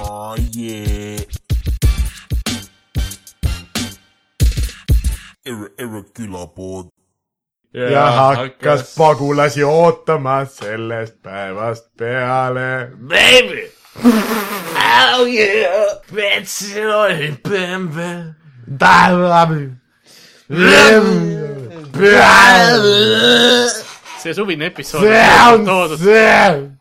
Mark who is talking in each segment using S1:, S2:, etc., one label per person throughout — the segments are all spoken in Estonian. S1: Oh yeah. Erre, erre külapod.
S2: ja hakkas pagulasi ootama sellest päevast peale .
S3: Baby! Oh yeah! Pensionin, bämbe! see suvine episood on toodud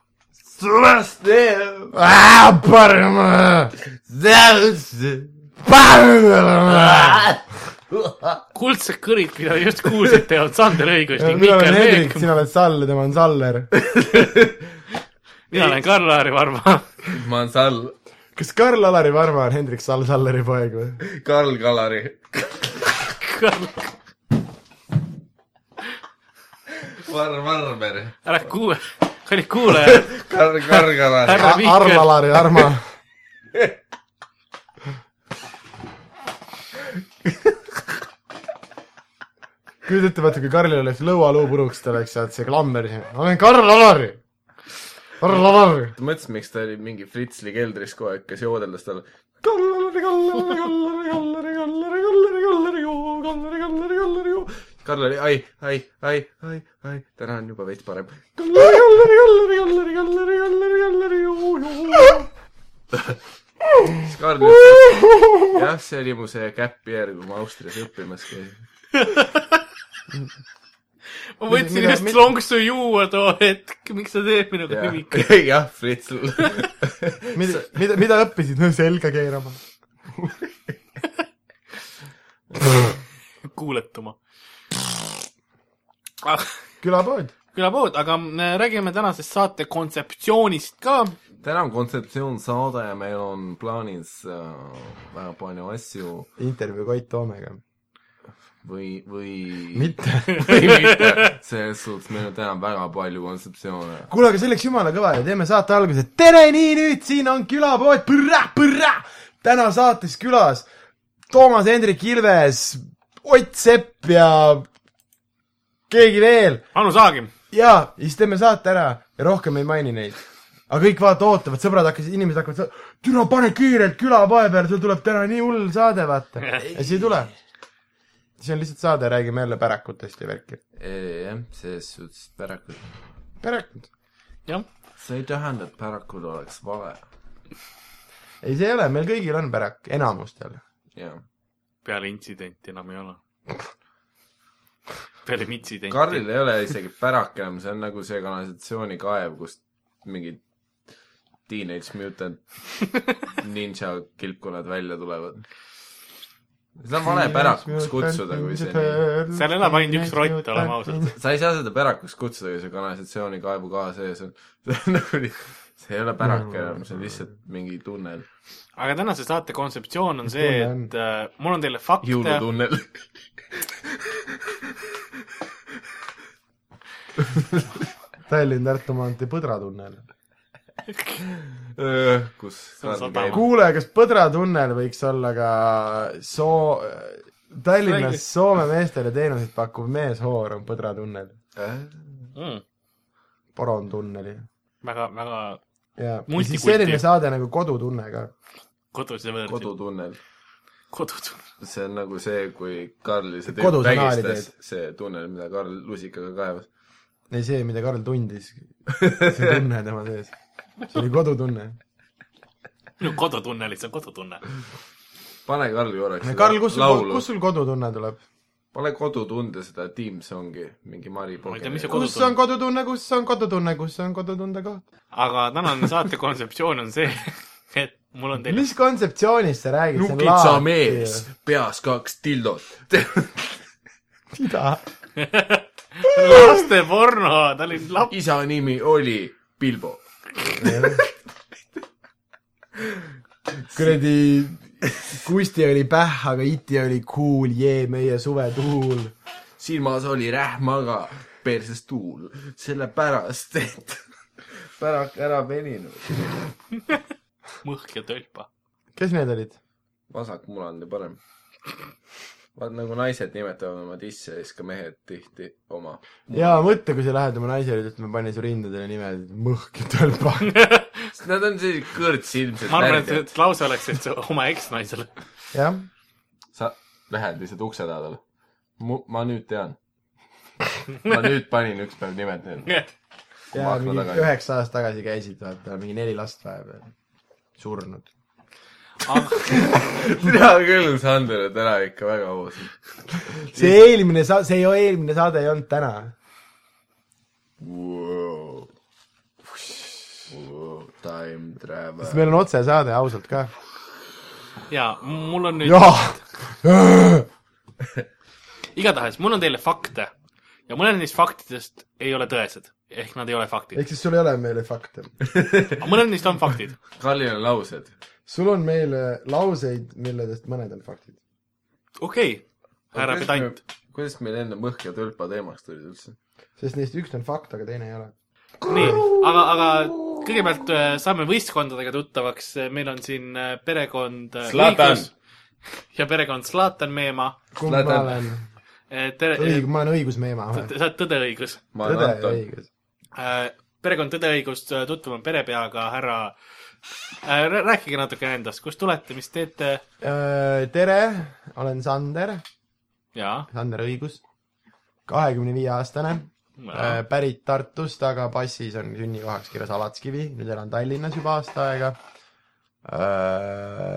S3: kuldsed kõrid , mida just kuulsite , on Sander Õigustik ,
S2: mina olen
S3: Mihkel
S2: Hendrik ,
S3: Meek ,
S2: sina oled Sall , tema on Saller .
S3: mina olen Karl-Laari Varma .
S4: ma olen Sall ,
S2: kas Karl-Alari Varma on Hendrik Sall Salleri poeg või ?
S4: Karl Kalari . Varr Varber ,
S3: ära kuule , kallid kuulajad ,
S4: Karl , Karl Kalari .
S3: härra Mihkel ,
S2: Armalari Arma . kujuta ette , vaata kui Karlil oleks lõualuu puruks , ta oleks sealt see klamber siin . ma olen Karl-Alari . Karl-Alari .
S4: mõtlesin , miks ta oli mingi Fritzli keldris kogu aeg , kes joodeldas talle .
S2: Kallari , Kallari , Kallari , Kallari , Kallari , Kallari , Kallari , Kallari , Kallari , Kallari ,
S4: Karl oli ai , ai , ai , ai , ai , täna on juba veits parem .
S2: Kallari , Kallari , Kallari , Kallari , Kallari , Kallari , Kallari .
S4: siis Karl ütles , et jah , see oli mu see käpp järg , kui ma Austrias õppimas käisin .
S3: ma võtsin
S2: mida-
S3: just
S2: mida-
S3: lonks to juua too hetk , miks sa teed minuga nimi ?
S4: jah , jah , Fritzl .
S2: mida , mida , mida õppisid ? no selga keerama .
S3: kuuletuma .
S2: külapood .
S3: külapood , aga me räägime tänasest saate kontseptsioonist ka .
S4: täna on kontseptsioon saade ja meil on plaanis äh, väga palju asju
S2: intervjuu Koit Toomega .
S4: või , või
S2: mitte .
S4: või mitte . selles suhtes meil on täna väga palju kontseptsioone .
S2: kuule , aga see läks jumala kõva ja teeme saate alguse . tere , nii nüüd siin on külapood , põrra , põrra . täna saates külas Toomas Hendrik Ilves , Ott Sepp ja keegi veel
S3: Anu Saagim ,
S2: ja siis teeme saate ära ja rohkem ei maini neid . aga kõik vaata ootavad , sõbrad hakkasid , inimesed hakkavad , türa pane kiirelt külapoe peale , sul tuleb täna nii hull saade , vaata . ja siis ei tule . siis on lihtsalt saade , räägime jälle pärakutest ja värki .
S4: E, jah , selles suhtes pärakud .
S2: pärakud .
S3: jah ,
S4: see ei tähenda , et pärakud oleks vale .
S2: ei , see ei ole , meil kõigil on pärak , enamustel .
S4: jah .
S3: peale intsidenti enam ei ole . peale mitsidenti .
S4: Karlil ei ole isegi pärak enam , see on nagu see kanalisatsioonikaev , kust mingid Teenage Mutant Ninja kilpkonnad välja tulevad . seda on vale pärakuks kutsuda , kui see nii .
S3: Seal elab ainult üks rott, oleme ausad. .
S4: sa ei saa seda pärakuks kutsuda , kui see kanalisatsioonikaevu ka sees on . see on nagu nii , see ei ole pärak enam , see on lihtsalt mingi tunnel ,
S3: aga tänase saate kontseptsioon on see ,
S2: tunne on?
S3: et äh, mul on teile fakte ,
S4: jõulutunnel .
S2: Tallinn-Tartu maantee Põdra tunnel .
S4: kus
S3: on
S4: Karl
S3: sadam.
S4: käib .
S2: kuule , kas Põdra tunnel võiks olla ka soo- , Tallinnas
S3: Räägi.
S2: Soome meestele teenuseid pakkuv meeshoor on Põdra tunnel ,
S4: Äh,
S3: mm,
S2: Poron tunneli
S3: väga , väga
S2: ja ja
S3: Multikulti.
S2: siis selline saade nagu Kodutunne ka .
S3: kodus ja võõrsil ,
S4: kodutunnel ,
S3: kodus .
S4: see on nagu see , kui Karli see tüüp
S2: Kodus on
S4: vägistas
S2: naalideed. ,
S4: see tunnel , mida Karl lusikaga kaevas .
S2: ei see , mida Karl tundis , see tunne tema sees , see oli kodutunne .
S3: minu kodutunne lihtsalt , kodutunne .
S4: pane Karli korraks
S2: Karl , kus sul ,
S4: laulu
S2: kus , sul kodutunne tuleb ?
S4: pane kodutunde seda Team Songi , mingi Mari
S3: Ma ei tea, mis see
S4: Pokeri .
S2: kus on kodutunne , kus on kodutunne , kus on kodutunde koht ?
S3: aga tänane saate kontseptsioon on see , et mul on teile ,
S2: mis kontseptsioonist sa räägid ?
S4: nukitsa mees , peas kaks tildot .
S2: mida ?
S3: lasteporno , ta oli laps ,
S4: isa nimi oli Bilbo .
S2: kuradi Kusti oli päh , aga Iti oli cool , jee , meie suvetuul .
S4: silmas oli rähmaga perses tuul , sellepärast , et pärak ära veninud .
S3: mõhk ja tölpa .
S2: kes need olid ?
S4: vasak muland ja parem . vaat nagu naised nimetavad oma tisse ja siis ka mehed tihti oma .
S2: jaa , mõtle , kui sa lähed oma naisele ja ütled , ma panin su rindadele nime , mõhk ja tõlba .
S4: Nad on sellised kõrtsilmsed
S3: ma arvan , et
S4: värdjad.
S3: et lause oleks , et see oma eksnaisele .
S2: jah ,
S4: sa lähed lihtsalt ukse taha talle . mu , ma nüüd tean . ma nüüd panin üks päev nimed neile .
S2: ja
S4: akna
S2: mingi
S4: tagasi.
S2: üheksa aastat tagasi käisid , vaata , mingi neli last vahepeal surnud .
S4: hea küll , Sander , et ära ikka väga aus .
S2: see eelmine sa- , see ju eelmine saade ei olnud täna .
S4: Wow. Wow. Time travel
S2: sest . meil on otsesaade ausalt ka .
S3: ja mul on nüüd ,
S2: jah ,
S3: igatahes mul on teile fakte ja mõned neist faktidest ei ole tõesed ehk nad ei ole faktid ,
S2: ehk siis sul ei ole meile fakte .
S3: aga mõned neist on faktid .
S4: Kalline laused .
S2: sul on meile lauseid , milledest mõned on faktid .
S3: okei okay. , härra pedant ..
S4: kuidas meil enne mõhk ja tõlpa teemaks tulid üldse ?
S2: sest neist üks on fakt , aga teine ei ole .
S3: nii , aga , aga kõigepealt äh, saame võistkondadega tuttavaks , meil on siin äh, perekond äh,
S4: Zlatan.
S3: Õigus ja perekond Zlatan , meie ema .
S2: kumb
S4: Lähed
S2: ma
S4: enne.
S2: olen ? õig- ,
S3: tere , äh,
S2: ma olen õigus meie ema
S3: sa
S2: vahel .
S3: oled tõdeõigus .
S4: ma olen
S2: tõde ja
S4: Anton .
S2: õigus .
S3: Äh, perekond Tõdeõigust , tutvume perepeaga , härra , rääkige natukene endast , kust tulete , mis teete
S2: Äh, tere , olen Sander ,
S3: ja ,
S2: Sander Õigus , kahekümne viie aastane
S3: ja. ,
S2: pärit Tartust , aga passis on sünnikohaks kirjas Alatskivi , nüüd elan Tallinnas juba aasta aega .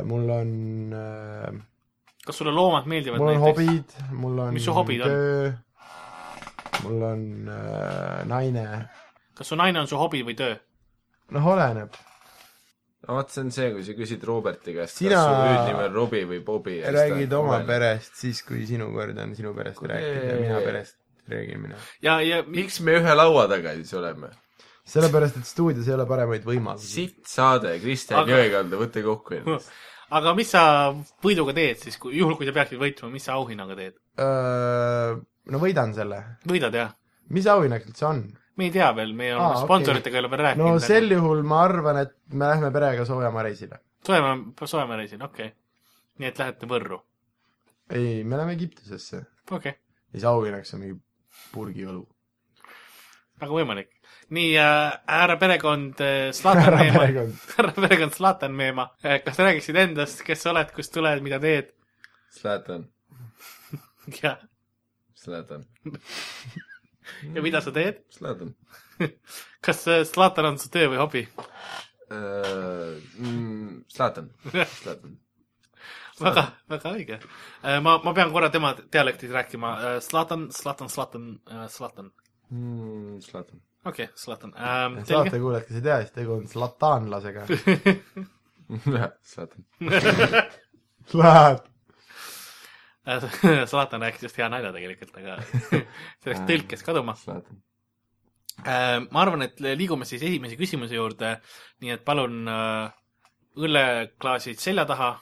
S2: mul on , äh, mul
S3: kas sulle loomad meeldivad
S2: on ? hobid , mul on
S3: Mis su hobid on?
S2: töö , mul on äh, naine ,
S3: kas su naine on su hobi või töö ?
S2: noh , oleneb .
S4: no vot , see on see , kui sa küsid Roberti käest ,
S2: Sina-
S4: kas su hüüdnimi on Robbie või Bobby .
S2: räägid oma . perest siis , kui sinu kord on sinu perest
S4: Kuule.
S2: rääkida ja mina perest räägin mina .
S3: ja , ja miks ,
S4: miks me ühe laua taga siis oleme ?
S2: sellepärast , et stuudios ei ole paremaid võimalusi .
S4: sitt saade , Kristjan
S3: Aga-
S4: aga... Jõekalda , võta kokku ennast .
S3: aga mis sa võiduga teed siis , kui , juhul kui sa peaksid võitma , mis sa auhinnaga teed ?
S2: Äh, no võidan selle .
S3: võidad jah ?
S2: mis auhinnaks üldse on ?
S3: me ei tea veel , me
S2: Aa,
S3: oleme
S2: okei.
S3: sponsoritega ei ole veel rääkinud .
S2: no sel juhul ma arvan , et me lähme perega Soojamaa reisile .
S3: Soojamaa , Soojamaa reisil , okei okay. . nii et lähete Võrru ,
S2: ei , me läheme Egiptusesse .
S3: okei okay. ,
S2: siis auhinnaks on mingi purgiõlu .
S3: väga võimalik . nii äh, , härra perekond äh, Zlatan
S2: härra
S3: Meema ,
S2: perekond ,
S3: härra perekond Zlatan Meema , kas sa räägiksid endast , kes sa oled , kust tuled , mida teed
S4: Zlatan ,
S3: ja ,
S4: Zlatan ,
S3: ja mida sa teed ?
S4: Zlatan .
S3: kas äh, Zlatan on su töö või hobi ?
S4: Äh, mm, Zlatan , Zlatan .
S3: väga , väga õige . ma , ma pean korra tema dialektis rääkima . Zlatan , Zlatan , Zlatan , Zlatan .
S4: Mm, Zlatan .
S3: okei okay, , Zlatan ähm, .
S2: saatekuulajad , kes ei tea , siis tegu on slatanlasega .
S4: Zlatan .
S2: Lähed .
S3: Zlatan rääkis just hea nalja tegelikult , aga see läks tõlkes kaduma .
S4: Zlatan .
S3: ma arvan , et liigume siis esimese küsimuse juurde , nii et palun äh, õlleklaasid selja taha ,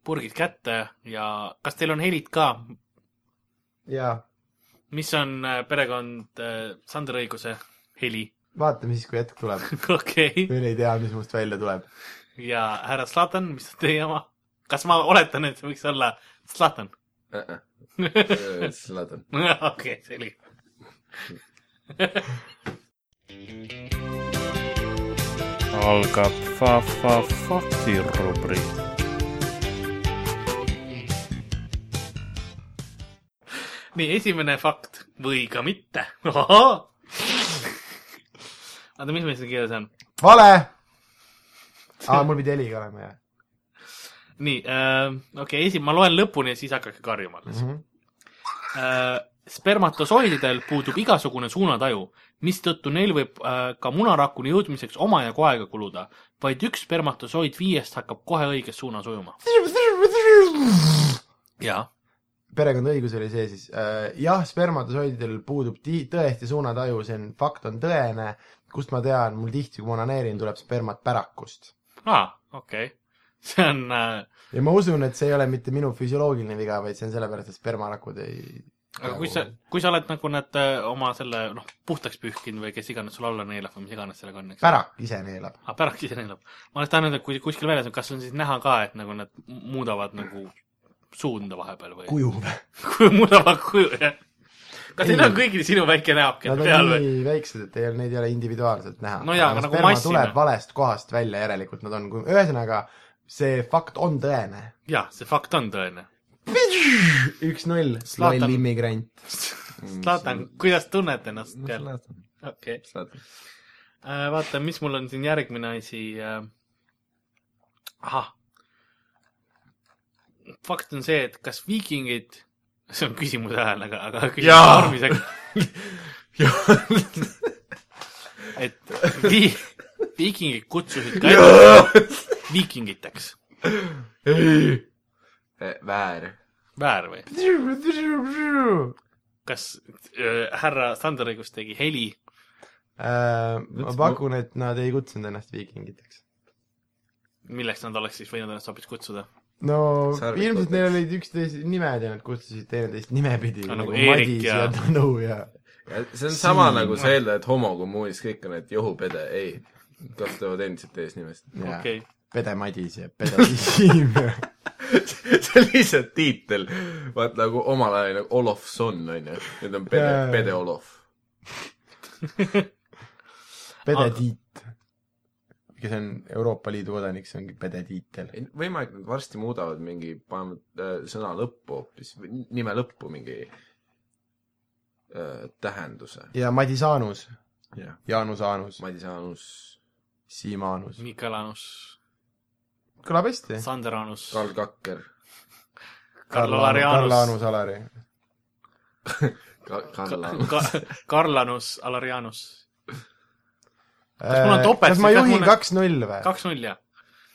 S3: purgid kätte ja kas teil on helid ka ,
S2: jaa ,
S3: mis on äh, perekond äh, Sander Õiguse heli ?
S2: vaatame siis , kui hetk tuleb .
S3: okei ,
S2: veel ei tea , mis must välja tuleb .
S3: ja härra Zlatan , mis on teie oma ? kas ma oletan , et see võiks olla Zlatan ?
S4: E, Zlatan .
S3: okei , selge .
S5: algab fa-fa-fakti rubriik .
S3: nii , esimene fakt või ka mitte . oota , mis meil siin kirjas on ?
S2: vale . aa , mul pidi heli ka olema , jah
S3: nii äh, , okei okay, , esi- , ma loen lõpuni ja siis hakake karjuma alles
S2: mm . -hmm.
S3: äh, . spermatosoididel puudub igasugune suunataju , mistõttu neil võib äh, ka munarakuni jõudmiseks omajagu aega kuluda . vaid üks spermatosoid viiest hakkab kohe õiges suunas ujuma . jaa ,
S2: perekond õigus oli see siis , jah , spermatosoididel puudub ti- , tõesti suunataju , see on , fakt on tõene , kust ma tean , mul tihti , kui ma onaneerin , tuleb spermat pärakust .
S3: aa , Ah, okei okay. , see on äh, ,
S2: ja ma usun , et see ei ole mitte minu füsioloogiline viga , vaid see on sellepärast , et spermarakud ei
S3: aga kui sa , kui sa oled nagu nad äh, oma selle , noh , puhtaks pühkinud või kes iganes sul alla neelab või mis iganes sellega on , eks .
S2: pärak ise neelab .
S3: aga Ah, pärast ise neelab . ma oleks tahtnud , et kui kuskil väljas on , kas on siis näha ka , et nagu nad muudavad nagu suunda vahepeal või ?
S2: kuju või ?
S3: kuju muudavad kuju , jah . kas neil on kõigil sinu väike näoke
S2: Nad
S3: peal
S2: on
S3: või ?
S2: nii väiksed , et ei ole , neid ei ole individuaalselt näha .
S3: No jaa, aga nagu massina.
S2: tuleb valest kohast välja , järelikult nad on , ühesõnaga see fakt on tõene .
S3: jah , see fakt on tõene .
S2: üks-null ,
S3: Zlatan.
S2: loll immigrant .
S3: Zlatan , kuidas tunned ennast jälle ? okei okay. , Äh, vaata , mis mul on siin järgmine asi . ahah . fakt on see , et kas viikingid , see on küsimuse hääl , aga , aga küsimus
S4: Jaa.
S3: vormiseks , et vi- , viikingid kutsusid ka ennast viikingiteks .
S2: Äh,
S4: E, väär .
S3: väär või ? kas öö, härra Standerõigus tegi heli ?
S2: ma pakun , et nad ei kutsunud ennast viikingiteks .
S3: milleks nad oleks siis võinud ennast hoopis kutsuda ?
S2: no
S4: Sarvikuteks.
S2: ilmselt neil olid üksteise nimed ja nad kutsusid teineteist nimepidi
S3: No
S2: nagu
S3: nagu Eerik
S2: Madis ja
S3: ja-
S2: Tõnu ja
S4: see on sama nagu sa eeldad , et homokommuunis kõik on , et johupede , ei . kasutavad endiselt eesnimest .
S2: ja
S3: okei okay. ,
S2: Pede Madis ja Pede Siim ja
S4: see on lihtsalt tiitel . vaat nagu omal ajal nagu Olofson on ju , nüüd on Pede
S2: Jaa. ,
S4: Pede Olof .
S2: Pede
S3: Aga-
S2: Tiit . kes on Euroopa Liidu kodanik , see ongi Pede tiitel .
S4: võimalik , et varsti muudavad mingi , panevad äh, sõna lõppu hoopis , nime lõppu mingi äh, tähenduse .
S2: ja Madis Aanus ,
S4: jah ,
S2: Jaanus Aanus ,
S4: Madis Jaanus ,
S2: Siim Aanus .
S3: Mikael Anus ,
S2: kõlab hästi .
S3: Sander Anus ,
S4: Karl Kakker ,
S3: Karl-Lari
S2: Karl
S3: Anus ,
S2: Aanus Alari .
S4: Karl Jaanus .
S3: Karl Anus , Alari Anus . Kas mul on
S2: Äh,
S3: topelt-
S2: kas ma
S3: kas
S2: juhin
S3: mul on-
S2: kaks-null või ?
S3: kaks-null jah ?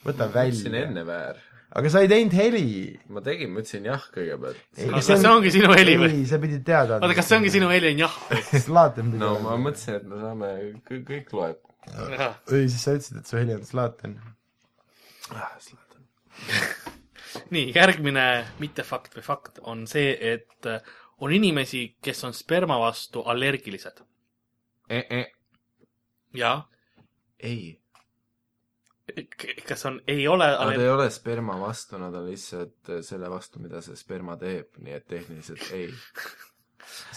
S2: võta
S4: ma ütlesin
S2: välja .
S4: enne väär .
S2: aga sa ei teinud heli .
S4: ma tegin , ma ütlesin jah kõigepealt .
S2: Ei,
S3: kas see ongi sinu heli või ?
S2: ei , sa pidid teada
S3: oota , kas see ongi sinu heli on jah ?
S2: Zlatan pidi
S4: no
S2: olema.
S4: ma mõtlesin , et me saame , kõik loeb .
S2: ei , siis sa ütlesid , et su heli on Zlatan . Ah,
S3: nii , järgmine mittefakt või fakt on see , et äh, on inimesi , kes on sperma vastu allergilised .
S4: E, ei .
S3: jaa , kas on , ei ole
S4: Nad ei
S3: aller- ,
S4: ole sperma vastu , nad on lihtsalt äh, selle vastu , mida see sperma teeb , nii et tehniliselt ei .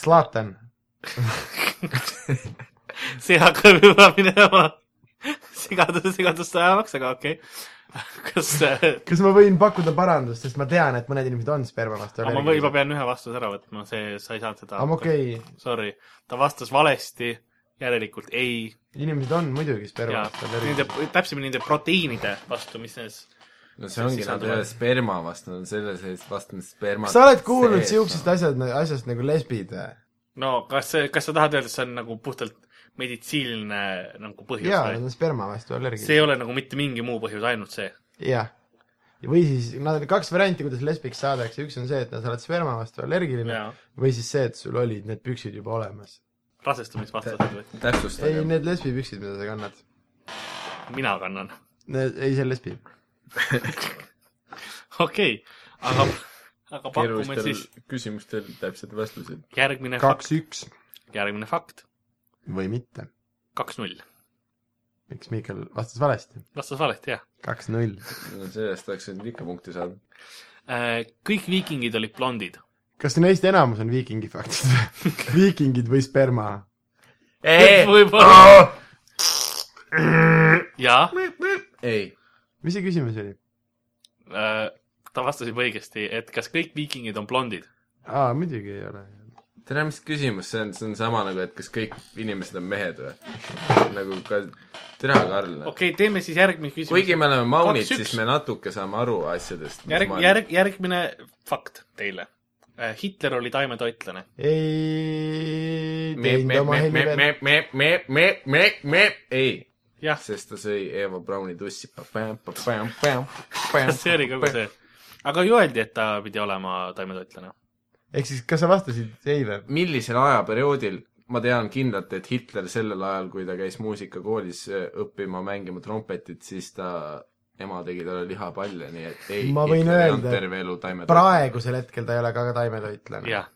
S2: Zlatan .
S3: seakõrv juba minema segadus , segadust ajavaks , aga okei okay. . kas äh, ,
S2: kas ma võin pakkuda parandust , sest ma tean , et mõned inimesed on sperma vastu
S3: aga ma või- juba . pean ühe vastuse ära võtma , see , sa ei saanud seda .
S2: aga okei ,
S3: Sorry , ta vastas valesti , järelikult ei
S2: inimesed on muidugi sperma
S3: ja
S2: vastu
S3: nende
S2: allergilised .,
S3: täpsemini nende proteiinide vastu , mis nendes
S4: no see ongi , nad ei ole sperma vastu , nad on selle sees vastu , mis sperma
S2: kas sa oled kuulnud siuksest asjad , asjast nagu lesbid või ?
S3: no kas , kas sa tahad öelda , et see on nagu puhtalt meditsiiniline nagu põhjus
S2: jaa , nad
S3: või ?
S2: on sperma vastu
S3: see ei
S2: allergilised .
S3: ole nagu mitte mingi muu põhjus , ainult see .
S2: jah . või siis , nad on kaks varianti , kuidas lesbiks saadakse , üks on see , et nad oled sperma vastu allergiline
S3: jaa ,
S2: või siis see , et sul olid need püksid juba olemas .
S3: rasestumisvastased või ?
S2: ei ,
S4: täpsustage ,
S2: need lesbipüksid , mida sa kannad .
S3: mina kannan .
S2: Need , ei , see on lesbi .
S3: okei okay. , aga , aga pakume
S4: keerulistel
S3: siis
S4: küsimustel täpsed vastused .
S3: järgmine fakt ,
S2: kaks-üks
S3: järgmine fakt ,
S2: või mitte
S3: kaks-null .
S2: miks Miikal vastas valesti ?
S3: vastas valesti , jah .
S2: kaks-null .
S4: no sellest oleks võinud ikka punkti saada .
S3: Äh, kõik viikingid olid blondid .
S2: kas neist enamus on viikingi faktid või ? viikingid või sperma ?
S3: võib-olla . jaa
S4: ei ,
S2: mis see küsimus oli ?
S3: Äh, ta vastas juba õigesti , et kas kõik viikingid on blondid ?
S2: aa , muidugi ei ole .
S4: tere , mis küsimus see on , see on sama nagu , et kas kõik inimesed on mehed või ? nagu ka , tere , Karl okay. .
S3: okei okay, , teeme siis järgmise küsimuse
S4: kuigi . me oleme maunid ,
S3: Kaks-üks.
S4: siis me natuke saame aru asjadest .
S3: järg , järg , järgmine fakt teile . Hitler oli taimetoitlane .
S2: ei teinud oma heli veel .
S4: ei ,
S3: jah ,
S4: sest ta sõi Eva Brauni tussi .
S3: see
S4: see
S3: oli kogu . see . aga ju öeldi , et ta pidi olema taimetoitlane .
S2: ehk siis , kas sa vastasid ei või ?
S4: millisel ajaperioodil ma tean kindlalt , et Hitler sellel ajal , kui ta käis muusikakoolis eh, õppima mängima trompetit , siis ta ema tegi talle lihapalle , nii et ei .
S2: Ma võin
S4: Hitler ei
S2: öelda,
S4: olnud terve elu taimed .
S2: praegusel hetkel ta ei ole ka taimetoitlane .
S3: jah ,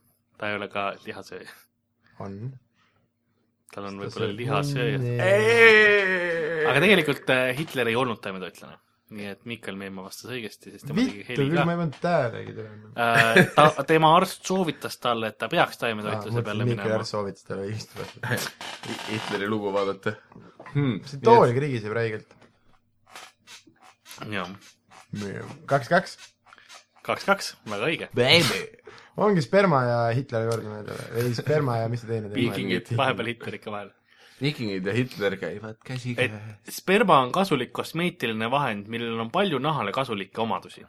S3: ta ei ole ka lihasööja .
S2: on .
S3: tal on võib-olla lihasööja .
S4: ei ,
S3: aga tegelikult äh, Hitler ei olnud taimetoitlane . nii et Mikkel Meemaa vastas õigesti , sest tema tegi
S2: vittu küll ,
S3: heli ka Äh,
S2: ma . ei pannud tähelegi täna .
S3: ta , tema arst soovitas talle , et ta peaks taimetoitluse peale
S2: Mikkel
S3: minema .
S2: Ah, Järv soovitas talle õigesti võtta .
S4: Hitleri lugu vaadata hmm. .
S2: see tool krigiseb räigelt .
S3: jah ,
S2: kaks , kaks .
S3: kaks-kaks , väga õige .
S2: ongi sperma ja Hitleri kordamööda või ? ei , sperma ja mis see teine teema
S3: viikingid , vahepeal Hitler ikka vahel .
S4: viikingid ja Hitler käivad
S3: et
S4: käsikäes .
S3: sperma on kasulik kosmeetiline vahend , millel on palju nahale kasulikke omadusi .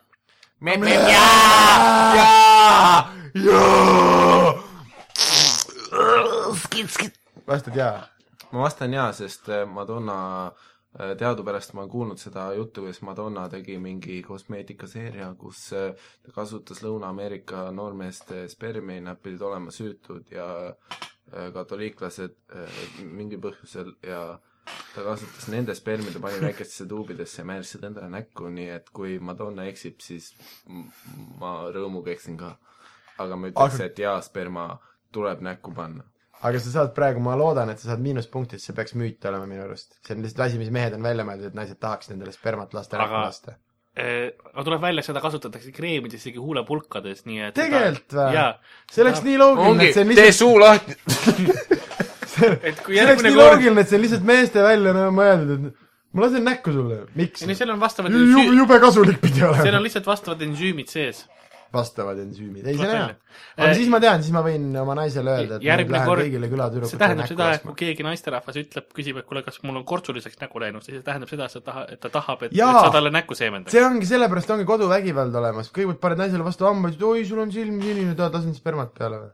S2: oli ? vastad jaa ?
S4: ma vastan jaa , sest äh, Madonna , teadupärast ma olen kuulnud seda juttu , kuidas Madonna tegi mingi kosmeetikaseeria , kus äh, ta kasutas Lõuna-Ameerika noormeeste spermi , nad pidid olema süütud ja äh, katoliiklased äh, mingil põhjusel ja ta kasutas nende spermi , ta pani väikestesse tuubidesse ja määris seda endale näkku , nii et kui Madonna eksib , siis m- ma rõõmuga eksin ka . aga ma ütleks ,
S2: Aga-
S4: et jaa , sperma tuleb näkku panna .
S2: aga sa saad praegu , ma loodan , et sa saad miinuspunktist , see peaks müüt olema minu arust . see on lihtsalt asi , mis mehed on välja mõeldud , et naised tahaksid endale spermat lasta ära
S3: Aga-
S2: lasta .
S3: Äh, aga tuleb välja , seda kasutatakse kreemides , isegi huulepulkades , nii et .
S2: Tegelikult või?
S3: jaa ,
S2: see oleks nii loogiline , et see on lihtsalt ,
S4: suu lahti .
S3: et
S2: see oleks
S3: kui järgmine
S2: nii
S3: kord ,
S2: loogiline , et see on lihtsalt meeste välja nagu mõeldud , et ma lasen näkku sulle . miks ?
S3: no seal on vastavad
S2: jube ,
S3: ensüümid ,
S2: jube kasulik pidi
S3: seal
S2: olema
S3: on . lihtsalt vastavad ensüümid sees .
S2: vastavad ensüümid , ei see on
S3: Tuleb
S2: hea
S3: välja. .
S2: aga
S3: Eh,
S2: siis ma tean , siis ma võin oma naisele öelda , et ma nüüd
S3: järgmine
S2: lähen
S3: kord-
S2: kõigile
S3: see
S2: külatüdrukutele
S3: tähendab
S2: näkku
S3: seda , et kui
S2: laskma .
S3: keegi naisterahvas ütleb , küsib , et kuule , kas mul on kortsuliseks nägu läinud , siis see tähendab seda , et sa taha- , et ta tahab , et et
S2: Jaa.
S3: sa talle näkku seemendad .
S2: see ongi , sellepärast ongi koduvägivald olemas , kõigepealt paned naisele vastu hamba , siis oi , sul on silm sinine , tahad lasen spermat peale või ?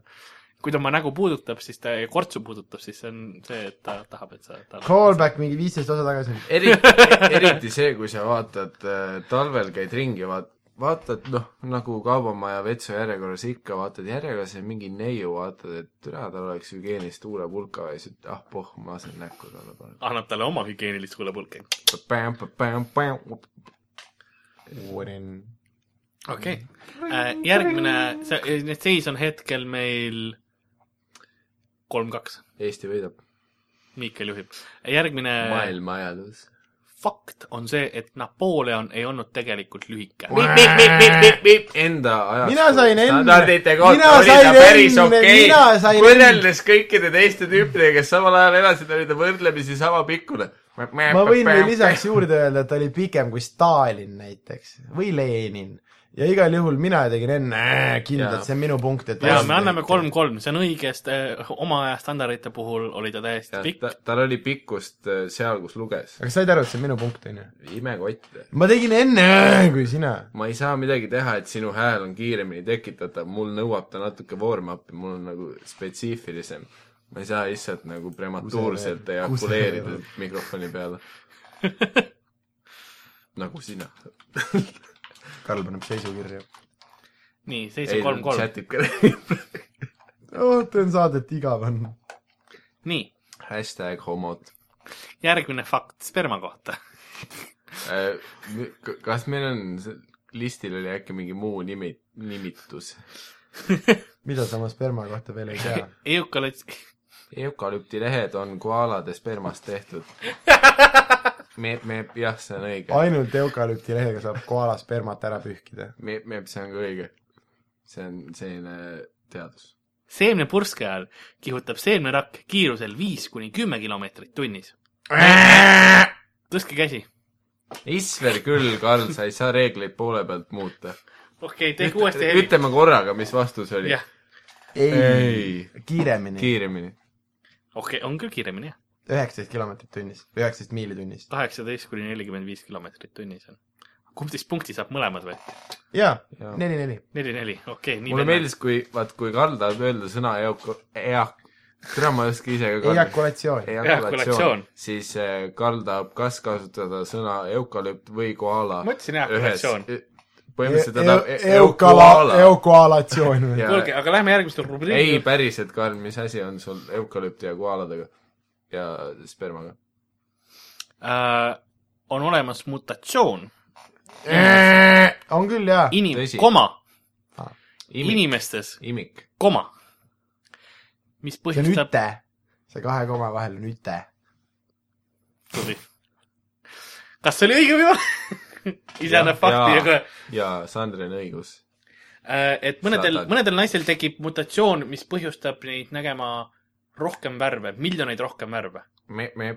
S3: kui ta oma nägu puudutab , siis ta , kortsu puudutab , siis see on see , et ta tahab , et sa ta...
S2: Callback mingi viisteist osa tagasi .
S4: eriti , e-, eriti see , kui sa vaatad äh, talvel käid ringi , vaat- , vaatad noh , nagu kaubamaja vetsu järjekorras ikka , vaatad järjekorras ja mingi neiu vaatad , et türa , tal oleks hügieenist huulepulka ja siis , et ah poh , ma lasen näkku talle
S3: annab talle oma hügieenilist huulepulki .
S4: panen .
S2: uurin .
S3: okei okay. . järgmine , see , seis on hetkel meil kolm-kaks ,
S4: Eesti võidab
S3: Miikel juhib . järgmine
S4: maailma ajaloos .
S3: fakt on see , et Napoleon ei olnud tegelikult lühike .
S4: Enda ajast .
S2: Mina sain enne-
S4: standardite kohta
S2: mina
S4: oli ta
S2: sain
S4: päris
S2: enne-
S4: okei
S2: mina sain
S4: okay. .
S2: enne-
S4: võrreldes kõikide teiste tüüpidega , kes samal ajal elasid , oli ta võrdlemisi sama pikkune .
S2: ma võin veel lisaks juurde öelda , et ta oli pikem kui Stalin näiteks või Lenin . ja igal juhul mina tegin enne äh, kindlalt ,
S4: Jaa.
S2: see on minu punkt , et
S3: ja me anname kolm-kolm , see on õigest , oma aja standardite puhul oli ta täiesti
S4: jah ,
S3: pikk
S4: ta , tal oli pikkust äh, seal , kus luges .
S2: aga said aru , et see on minu punkt , on ju ?
S4: imekott .
S2: ma tegin enne äh, kui sina .
S4: ma ei saa midagi teha , et sinu hääl on kiiremini tekitatav , mul nõuab ta natuke warm-up'i , mul on nagu spetsiifilisem . ma ei saa lihtsalt nagu prematuurselt
S2: Kuse-
S4: ejakuleerida mikrofoni peale . nagu sina .
S2: Karl paneb seisukirja .
S3: nii , seis on kolm-kolm .
S4: chatib ka .
S2: ootan saadet , igav on .
S3: nii ,
S4: hashtag homod .
S3: järgmine fakt sperma kohta .
S4: Äh, kas meil on , listil oli äkki mingi muu nimi , nimitus ?
S2: mida sa oma sperma kohta veel ei tea ?
S3: eukalüts- ,
S4: eukalüptilehed on koaalade spermast tehtud . meep , meep , jah , see on õige .
S2: ainult eukalüpti lehega saab koala spermat ära pühkida .
S4: meep , meep , see on ka õige . see on selline teadus .
S3: seemnepurske ajal kihutab seemnerakk kiirusel viis kuni kümme kilomeetrit tunnis . tõstke käsi .
S4: Isver küll , Karl , sa ei saa reegleid poole pealt muuta .
S3: okei okay, , tehke uuesti heli .
S4: ütleme korraga , mis vastus oli .
S3: jah ,
S2: ei ,
S4: ei ,
S2: kiiremini ,
S4: kiiremini .
S3: okei okay, , on küll kiiremini jah ,
S2: üheksateist kilomeetrit tunnis , üheksateist miili tunnis .
S3: kaheksateist kuni nelikümmend viis kilomeetrit tunnis on . kumb siis punkti saab , mõlemad või ?
S2: jaa
S4: Jaa. ,
S2: neli-neli .
S3: neli-neli , okei okay, , nii
S4: mulle . meeldis , kui , vaat kui Karl tahab öelda sõna eak- , eak- , tead , ma ei oska ise ka Karl-
S2: ejakulatsioon .
S4: ejakulatsioon
S3: Ejakulatsioon. ,
S4: siis eh, Karl tahab kas kasutada sõna eukalüpt või koala .
S3: Ma ütlesin ejakulatsioon. .
S4: E, põhimõtteliselt ta tahab e-
S2: Eukala ,
S4: eukoala .
S2: eukoalatsioon või ?
S4: Ja-
S3: kuulge , aga lähme järgmiste rubriigi
S4: ei , päriselt , Karl , mis asi on sul eukalüpti ja koaladega ja spermaga ?
S3: uh, . on olemas mutatsioon ,
S2: E- on küll jaa .
S3: inim-
S4: Tõsi. ,
S3: koma ,
S4: imik ,
S3: inimestes ,
S4: imik .
S3: koma , mis
S2: see on
S3: põhjustab
S2: üte . see kahe koma vahel on üte .
S3: tubli . kas see oli õige või vale ? ise annab fakti , aga
S4: jaa , Sandril on õigus .
S3: äh, et mõnedel
S4: Saadad. ,
S3: mõnedel naistel tekib mutatsioon , mis põhjustab neid nägema rohkem värve , miljoneid rohkem värve .
S4: me , me ,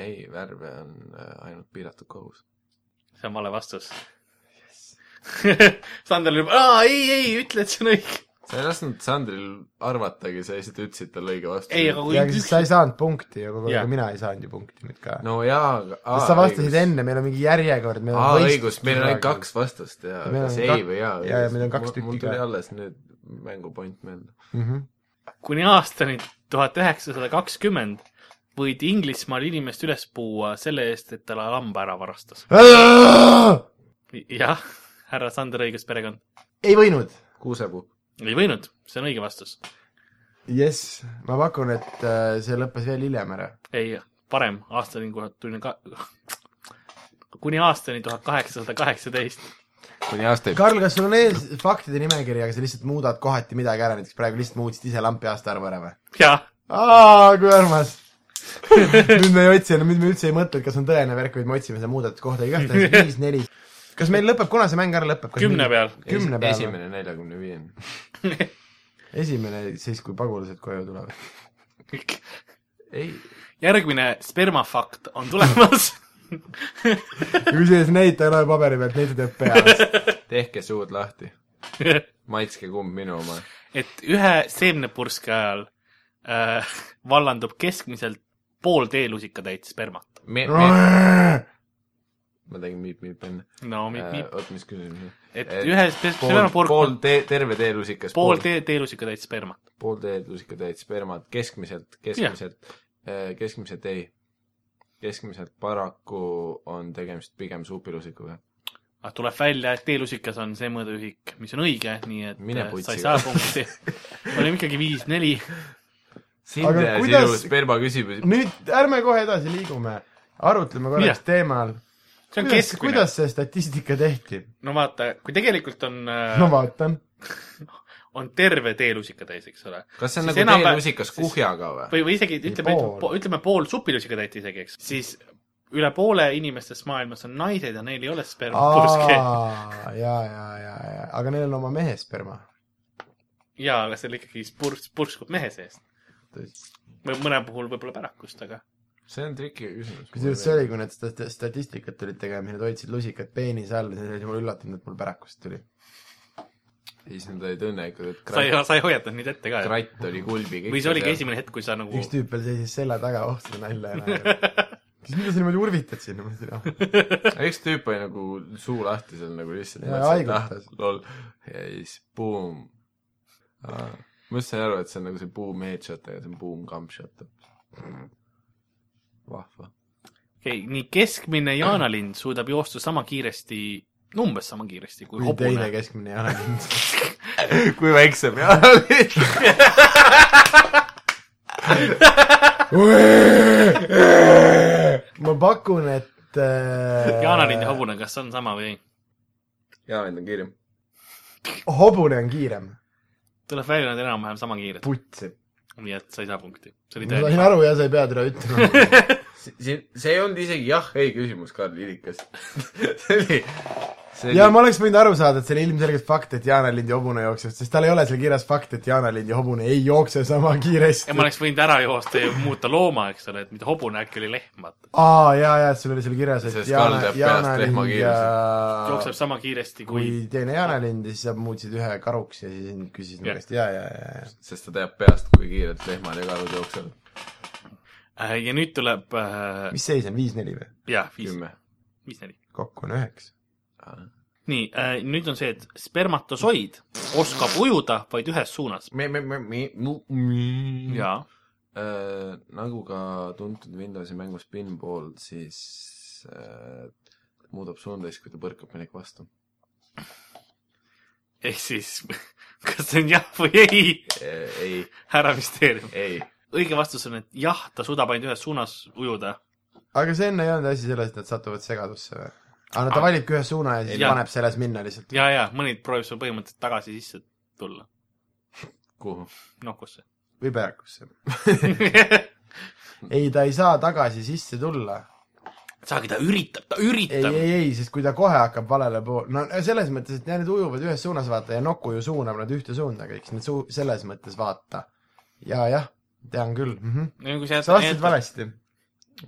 S4: ei , värve on äh, ainult piiratud kogus .
S3: see on vale vastus yes. . Sander oli juba , aa ei , ei , ütle , et see on õige .
S4: sa ei lasknud Sandril arvatagi , sa lihtsalt ütlesid talle õige vastuse .
S3: ei , aga kui
S2: ja siis
S3: üks
S2: sa , ei saanud punkti ja kogu
S3: Jah.
S2: aeg ka mina ei saanud ju punkti nüüd ka .
S4: no jaa , aga
S2: sest sa vastasid . enne , meil on mingi järjekord , meil
S4: aa
S2: on ,
S4: õigus , meil on ainult . kaks vastust jaa ,
S2: Ja meil
S4: kas
S2: on
S4: ei
S2: kak-
S4: või jaa .
S2: jaa, ja meil on kaks tükki
S4: mul tuli
S2: ka.
S4: alles nüüd mängupoint meelde .
S2: Mhm.
S3: kuni aastani tuhat üheksasada kakskümmend võid Inglismaal inimest üles puua selle eest , et talle lamba ära varastas . jah , härra Sander õigus perekond .
S2: ei võinud .
S4: kuusepuu .
S3: ei võinud , see on õige vastus .
S2: jess , ma pakun , et äh, see lõppes veel hiljem ära .
S3: ei , parem , aastani tuhat tuni ka- , kuni aastani tuhat kaheksasada kaheksateist .
S4: kuni aasta ei
S2: Karl , kas sul on ees faktide nimekiri , aga sa lihtsalt muudad kohati midagi ära , näiteks praegu lihtsalt muutsid ise lampi aasta arvu ära või ?
S3: jah ,
S2: aa , kui armas . nüüd me ei otsi , nüüd me üldse ei mõtle , et kas on tõene värk , vaid me otsime seda muudetud kohta igatahes viis-neli . kas meil lõpeb , kuna see mäng ära lõpeb ?
S3: Kümne peal.
S2: kümne peal .
S4: esimene neljakümne viiene .
S2: esimene siis , kui pagulased koju tulevad .
S4: ei ,
S3: järgmine spermafakt on tulemas .
S2: kusjuures neid ta ei loe paberi pealt , neid ta teeb peast .
S4: tehke suud lahti . maitske kumb minu oma .
S3: et ühe seemnepurske ajal äh, vallandub keskmiselt pool teelusikatäit spermat .
S4: me , me , ma tegin miip-miip enne .
S3: no mi- , mi- ,
S4: oot , mis küsimus ?
S3: et ühe spe-
S4: Äh, pool ,
S3: spermapurk
S4: pool
S3: on
S4: tee , terve teelusikas .
S3: pool tee- , teelusikatäit spermat .
S4: pool teelusikatäit spermat , keskmiselt , keskmiselt , keskmiselt ei . keskmiselt paraku on tegemist pigem suupilusikuga .
S3: aga tuleb välja , et teelusikas on see mõõduühik , mis on õige , nii et
S4: Mine
S3: äh, sa ei
S4: putsi.
S3: saa punkti . olime ikkagi viis-neli
S4: sind
S2: Aga
S4: ja sinu
S2: kuidas-
S4: sperma küsimus .
S2: nüüd ärme kohe edasi liigume , arutleme korraks
S3: Jah.
S2: teemal .
S3: see on
S2: kuidas ,
S3: keskmine .
S2: kuidas see statistika tehti ?
S3: no vaata , kui tegelikult on
S2: ma
S3: no, ,
S2: vaatan .
S3: on terve teelusikatäis , eks ole ,
S4: kas see on
S3: Siis
S4: nagu
S3: enam-
S4: teelusikas
S3: siis-
S4: kuhjaga või ?
S3: või , või isegi ütleme
S2: pool. ,
S3: ütleme pool supilusikatäit isegi , eks , siis üle poole inimestest maailmas on naised ja neil ei ole spermapurske .
S2: aa , ja , ja , ja , ja , aga neil on oma mehe sperma .
S3: jaa , aga seal ikkagi spurs- , purskub mehe seest . või mõne puhul võib-olla pärakust , aga
S4: see on triki küsimus .
S2: kusjuures see oli , kui need stat- , statistikat tulid tegema ja nad hoidsid lusikad peenise all ja siis oli mul üllatunud , et mul pärakust tuli .
S4: siis nad olid õnnelikud , et
S3: sa ei
S4: kratt ,,
S3: sa ei hoiatanud neid ette ka ,
S4: kratt oli kulbi .
S3: või see oligi esimene hetk , kui sa nagu
S2: üks tüüp veel seisis selja taga , oh seda nalja ei näe . siis mida sa niimoodi urvitad sinna , ma ütlesin , ah ,
S4: Aga üks tüüp oli nagu suu lahti seal nagu lihtsalt
S2: Ja
S4: mõtles, et
S2: haigutas.
S4: ah, lol ja siis boom ah, ma just sain aru , et see on nagu see boom headshot , aga see on boom gumpshot vahva
S3: okei , nii keskmine jaanalind suudab joosta sama kiiresti , umbes sama kiiresti kui
S2: kui teine
S3: hobune .
S2: keskmine ei ole mind .
S4: kui väiksem ja oli
S2: ma pakun , et äh,
S3: jaanalind ja hobune , kas on sama või ei ?
S4: ja nüüd on kiirem
S2: hobune on kiirem .
S3: tuleb välja , nad enam-vähem sama kiired .
S2: putsi .
S3: nii et sa ei saa punkti . see oli
S2: ma sain
S3: tõeline .
S2: aru ja sa ei pea teda ütlema .
S4: see, see, see ei olnud isegi jah , ei küsimus Karl Ilikas see oli see
S2: ja
S4: oli
S2: ma oleks võinud aru saada , et see oli ilmselgelt fakt , et Jaana Lind ja hobune jooksevad , sest tal ei ole seal kirjas fakt , et Jaana Lind ja hobune ei jookse sama
S3: ja
S2: kiiresti .
S3: ma oleks võinud ära joosta ja muuta looma , eks ole , et mitte hobune , äkki oli lehm , vaata .
S2: aa , jaa , jaa , et sul oli seal kirjas , et
S4: Sest Karl
S2: Jaana
S4: teab ,
S2: Jaana
S4: peast lehma
S2: Lind ja
S3: jookseb sama kiiresti
S2: kui
S3: kui ,
S2: teine Jaana Lind ja siis sa muutsid ühe karuks ja siis küsisid mu
S3: Jah.
S2: käest ja , ja , ja , ja .
S4: sest ta teab peast , kui kiirelt lehmad ja karud jooksevad
S3: ja nüüd tuleb äh, ,
S2: mis seis on , viis-neli või ?
S3: jah , viis ,
S4: kümme
S3: viis-neli .
S2: kokku on üheksa .
S3: nii äh, , nüüd on see , et spermatosoid oskab ujuda vaid ühes suunas .
S4: me , me , me , me ,
S2: Mm.
S4: me
S3: jaa ,
S4: Äh, nagu ka tuntud Windowsi mängu Spinball , siis äh, muudab suunda siis , kui ta põrkab millegi vastu .
S3: ehk siis kas see on jah või ei ,
S4: Äh, ei ,
S3: härra Müsteerium .
S4: ei .
S3: õige vastus on , et jah , ta suudab ainult ühes suunas ujuda .
S2: aga see enne ei olnud asi selles , et nad satuvad segadusse või ? aga no ta
S3: Aa.
S2: valibki ühe suuna ja siis
S3: Jaa.
S2: paneb selles minna lihtsalt .
S3: ja , ja mõni proovib sul põhimõtteliselt tagasi sisse tulla
S4: kuhu ?
S3: nokusse .
S2: või pärakusse . ei , ta ei saa tagasi sisse tulla .
S3: et saagi , ta üritab , ta
S2: ei ,
S3: üritab .
S2: ei , ei , sest kui ta kohe hakkab valele poole , no selles mõttes , et need ujuvad ühes suunas , vaata , ja Nokku ju suunab nad ühte suunda kõik , nii et suu- , selles mõttes vaata . ja , jah , tean küll mm . -hmm. sa vastasid . valesti ,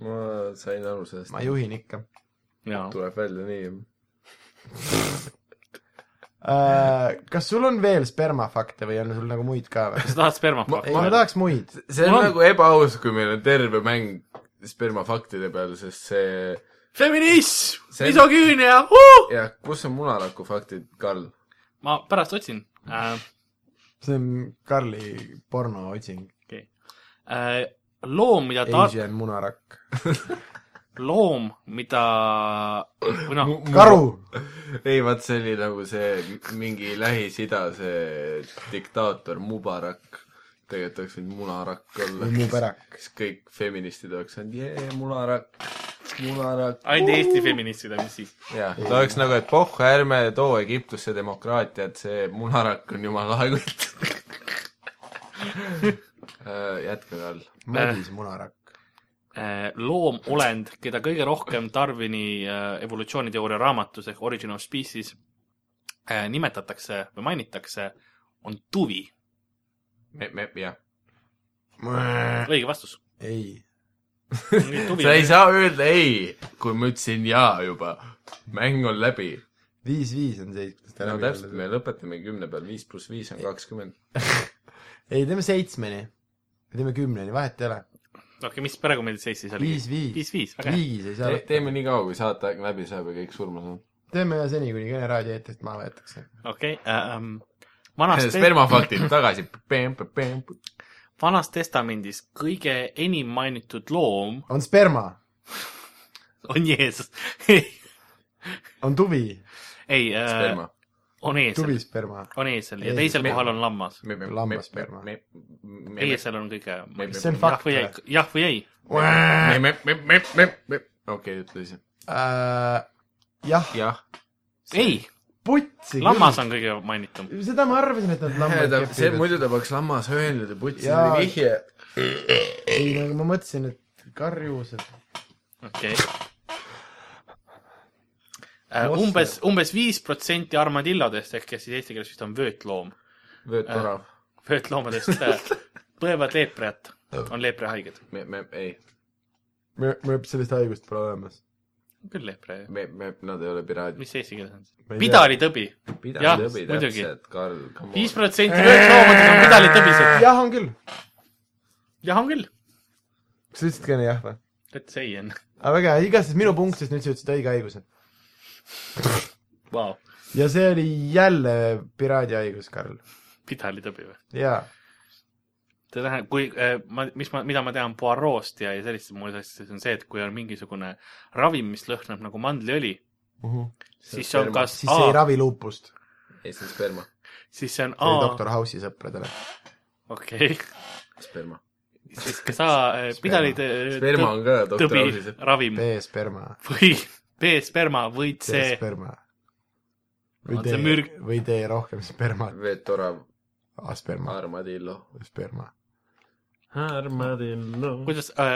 S4: ma sain aru sellest
S2: ma . juhin ikka
S4: tuleb välja nii .
S2: äh, . kas sul on veel spermafakte või on sul nagu muid ka või ?
S3: kas sa tahad spermat
S2: ei , ma ? tahaks muid .
S4: see on
S3: Mul on-
S4: nagu ebaaus , kui meil on terve mäng spermafaktide peal , sest see ,
S3: feminism ,
S4: See-
S3: misogüünia uh! .
S4: jah , kus on munaraku faktid , Karl ?
S3: ma pärast otsin äh, .
S2: see on Karli pornootsing .
S3: Okay. Äh, loom , mida ta ,
S2: Asian munarakk .
S3: loom , mida , või noh ,
S2: karu ,
S4: ei , vaat see oli nagu see mingi Lähis-Ida see diktaator Mubarak . tegelikult oleks võinud munarakk olla .
S2: Või muberak. .
S4: siis kõik feministid oleks olnud , jee , munarakk , munarakk .
S3: ainult Eesti feministid on siis .
S4: jah , ta oleks nagu , et pohh , ärme too Egiptusse demokraatiat , see munarakk on jumala aegult . jätka , Karl .
S2: Madis munarakk .
S3: loomolend , äh, keda kõige rohkem Darwini äh, evolutsiooniteooria raamatus ehk Origin of Species äh, nimetatakse või mainitakse , on tuvi .
S4: me , me , jah .
S3: õige vastus .
S2: ei ,
S4: sa ei saa öelda ei , kui ma ütlesin jaa juba . mäng on läbi .
S2: viis-viis on seis .
S4: no täpselt , me lõpetame kümne peal , viis pluss viis on kakskümmend .
S2: ei , teeme seitsmeni . teeme kümneni , vahet ei ole .
S3: okei , mis praegu meil seis siis oli ?
S2: Viis-viis.
S3: viis-viis , väga hea .
S2: viis ei saa lõpetada .
S4: teeme nii kaua , kui saateaeg läbi saab ja kõik surma saab .
S2: teeme ühe seni , kuni Kene raadio eetrist maha võetakse .
S3: okei , ähm,
S2: Äh,
S3: vanast ,
S4: spermafaktid tagasi .
S3: vanas testamendis kõige enim mainitud loom
S2: on sperma ,
S3: on Jeesus . ei,
S2: on tuvi ,
S3: ei ,
S4: sperma .
S3: on eesel ,
S2: tuvisperma .
S3: on eesel ja
S2: Eesel.
S3: teisel
S4: Me-
S3: kohal on lammas .
S2: Lambasperma.
S3: eesel on kõige ,
S2: see on
S3: jah
S2: fakt
S3: või ei
S2: või ?,
S3: jah või ei .
S4: okei , ütle siis .
S2: Äh, jah ,
S4: jah .
S3: ei ,
S2: putsi .
S3: lammas on kõige mainitum .
S2: seda ma arvasin , et nad lambad
S4: see
S2: kepivad .
S4: muidu ta peaks lammas öelnud ja putsi
S2: Jaa.
S4: oli vihje .
S2: ei , nagu ma mõtlesin , et karjused .
S3: okei . umbes , umbes viis protsenti armadillodest ehk kes siis eesti keeles vist on vöötloom , Äh.
S4: vöötorav .
S3: vöötloomadest äh, põevad leepriat ,
S2: Oh.
S3: on leeprihaiged .
S4: me , me , ei ,
S2: me , me sellist haigust pole olemas .
S3: küll leepri ,
S4: me , me , nad ei ole piraadid .
S3: mis see eesti keeles on siis
S2: Ma ei ? tea.
S3: pidalitõbi , Jah,
S4: pidalitõbi
S3: muidugi.
S4: täpselt , Karl , come
S3: viis
S4: on .
S3: protsenti vöötloomadest on pidalitõbised .
S2: jah , on küll .
S3: jah , on küll .
S2: kas sa ütlesid Kene jah või ?
S3: et see ei enne .
S2: aga väga hea , igastahes minu punkt , sest nüüd sa ütlesid õige haiguse .
S3: Vau ,
S2: ja see oli jälle piraadi haigus , Karl .
S3: pidalitõbi või ?
S2: jaa ,
S3: see tähendab , kui eh, ma , mis ma , mida ma tean Poirot'st ja , ja sellistest muudest asjadest on see , et kui on mingisugune ravim , mis lõhnab nagu mandliõli , siis see on
S4: sperma.
S3: kas
S2: siis see ei
S3: A ,
S2: ravi luupust .
S4: ei , see on sperma ,
S3: siis see on
S2: see oli
S3: A ,
S2: doktor House'i sõpradele .
S3: okei ,
S4: sperma .
S3: siis kas A eh, pidalid eh,
S4: sperma
S3: tõ-
S4: on ka
S3: tõbi
S4: doktoraalis , et
S3: ravim
S2: B-sperma ,
S3: või B sperma või C ,
S2: C-sperma .
S3: On see mürk-
S2: või tee rohkem spermat ,
S4: vöötorav ,
S2: A-sperma ,
S4: armadillo .
S2: sperma .
S4: armadillo .
S3: kuidas eh,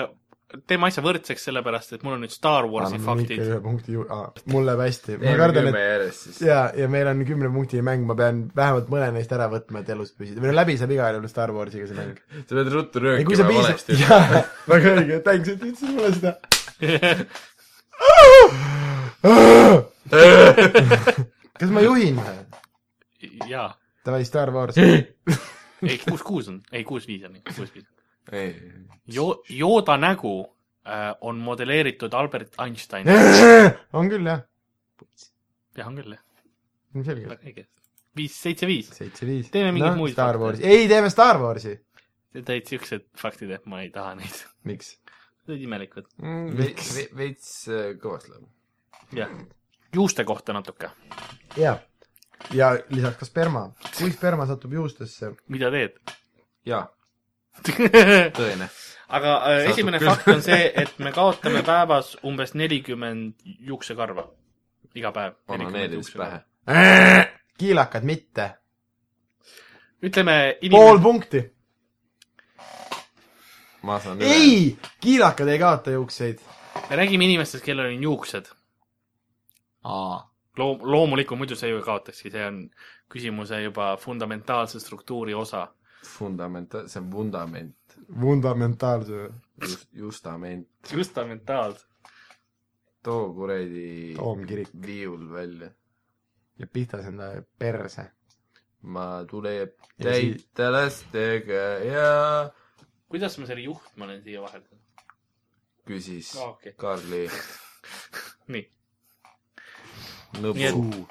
S3: teeme asja võrdseks , sellepärast et mul on nüüd Star
S2: Ah,
S3: Warsi faktid .
S2: ühe punkti ju- , mul läheb hästi , ma
S4: teeme
S2: kardan ,
S4: kümme
S2: et
S4: järjest siis .
S2: ja , ja meil on kümne punkti mäng , ma pean vähemalt mõne neist ära võtma , et elus püsida , või no läbi saab igal juhul Star Warsiga see mäng .
S4: sa pead ruttu
S2: ei , kui sa
S4: röökima
S2: piisab
S4: valesti ,.
S2: jaa , väga õige , tänks , et ütlesid mulle seda . kas ma juhin või ?
S3: jaa ,
S2: Davai , Star Wars .
S3: ei kuus , kuus on , ei kuus , viis on , kuus , viis .
S4: ei ,
S3: Jo- , Jooda nägu eh, on modelleeritud Albert Einsteini ,
S2: on küll , jah ,
S3: jah on küll jah ,
S2: ilmselgelt .
S3: väga õige . viis , seitse , viis .
S2: seitse , viis .
S3: Teeme mingeid muid
S2: Star
S3: fakte.
S2: Warsi , ei teeme Star Warsi .
S3: Need olid siuksed faktid , et ma ei taha neid .
S2: miks ?
S3: Need olid imelikud .
S4: veits , Mm, veits äh, kõvasti läheb .
S3: jah . juuste kohta natuke .
S2: jaa . ja lisaks ka sperma . kui sperma satub juustesse ,
S3: mida teed
S4: jaa , tõene .
S3: aga äh,
S4: Satub
S3: esimene
S4: küll.
S3: fakt on see , et me kaotame päevas umbes nelikümmend juuksekarva . iga päev .
S4: onaneerides pähe ..
S2: kiilakad mitte .
S3: ütleme
S2: pool
S3: inimene ,
S2: punkti .
S4: ma saan üle .
S2: ei , kiilakad ei kaota juukseid .
S3: me räägime inimestest , kellel on juuksed .
S4: aa .
S3: loom- , loomulikult muidu see ju kaotakski , see on küsimuse juba fundamentaalse struktuuri osa .
S4: Fundamenta- , see on vundament ,
S2: fundamentaalse ,
S4: just , justament .
S3: fundamentaalse .
S4: too kuradi
S2: Toomkirik.
S4: viiul välja .
S2: ja pihta see enda perse .
S4: ma tuleb
S2: Ja siis-
S4: täita lastega ja
S3: kuidas ma selle juhtmane siia vaheldan ?
S4: küsis
S3: Aa, okei.
S4: Karli
S3: nii , Nii et-
S4: nõbu .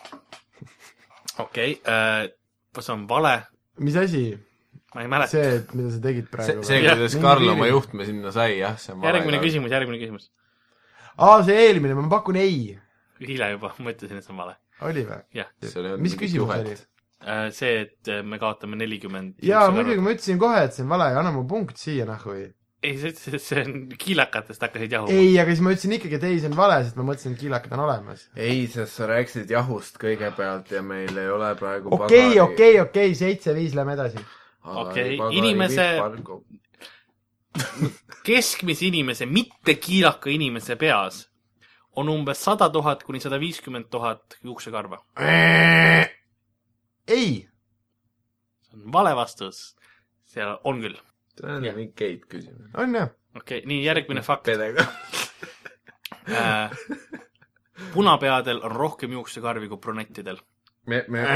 S3: okei okay, , kas on vale ?
S2: mis asi
S3: ma ei mäleta .
S2: see , mida sa tegid
S4: see ,
S2: praegu ?
S4: see ,
S3: Jah.
S4: kuidas Karl oma juhtme sinna sai , jah , see on vale .
S3: järgmine . küsimus , järgmine küsimus .
S2: aa , see eelmine , ma pakun ei .
S3: eile juba ma ütlesin , et see on vale .
S2: oli või ?
S3: jah ,
S2: mis küsimus oli ??
S3: Äh, see , et me kaotame nelikümmend .
S2: jaa , muidugi . ma ütlesin kohe , et see on vale , anna mu punkt siia nahhui .
S3: ei , sa ütlesid , et see on kiilakatest hakkasid jahuma .
S2: ei , aga siis ma ütlesin ikkagi , et ei , see on vale , sest ma mõtlesin , et kiilakad on olemas .
S4: ei , sest sa rääkisid jahust kõigepealt ja meil ei ole praegu
S2: okei , okei , okei , seitse-viis , lähme edasi .
S3: Okei, inimese- keskmise inimese , mitte kiilaka inimese peas on umbes sada tuhat kuni sada viiskümmend tuhat juuksekarva . Äh!
S2: ei ,
S3: see on vale vastus . seal on küll .
S4: see on mingi Keit küsimus .
S2: on jah .
S3: okei okay, , nii järgmine fakt .
S4: pedega .
S3: punapeadel on rohkem juuksekarvi kui brunettidel .
S4: me , me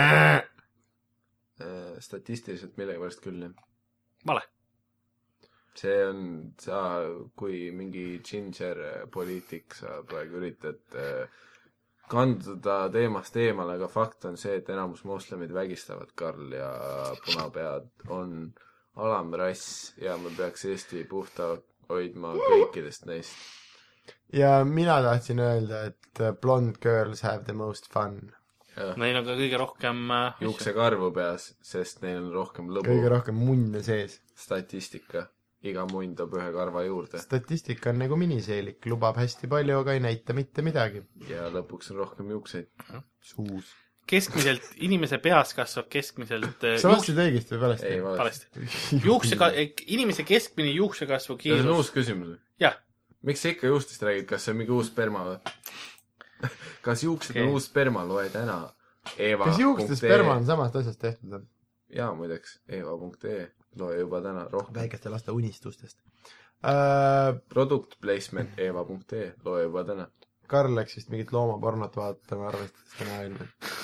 S4: Äh, statistiliselt millegipärast küll , jah .
S3: vale .
S4: see on , sa , kui mingi ginger poliitik , sa praegu üritad äh, kanduda teemast eemale , aga fakt on see , et enamus moslemid vägistavad Karl ja punapead on alamrass ja me peaks Eesti puhta hoidma kõikidest neist .
S2: ja mina tahtsin öelda , et äh, blond girls have the most fun .
S3: Neil on ka kõige rohkem äh,
S4: juuksekarvu peas , sest neil on rohkem
S2: kõige
S4: lõbu .
S2: rohkem munne sees .
S4: statistika , iga munn toob ühe karva juurde
S2: statistika on nagu miniseelik , lubab hästi palju , aga ei näita mitte midagi .
S4: ja lõpuks on rohkem juukseid .
S2: suus .
S3: asju. keskmiselt inimese peas kasvab keskmiselt äh,
S2: sa
S3: juukse ,
S2: vastasid õigesti või valesti
S4: ei ,? valesti .
S3: valesti , juuksega , inimese keskmine juuksekasvu
S4: see on
S3: kiirus
S4: uus , küsimus .
S3: jah ,
S4: miks sa ikka juustest räägid , kas see on mingi uus sperma või ? kas juuksed okay.
S3: Okei.
S4: on uus sperma , loe täna .
S2: kas juukste sperma on ? samast asjast tehtud või ?
S4: jaa , muideks , eva.ee , loe juba täna rohkem .
S2: väikeste laste unistustest uh, .
S4: Product placement eva.ee , loe juba täna .
S2: Karl läks vist mingit loomapornot vaatama , arvestades täna ilmselt .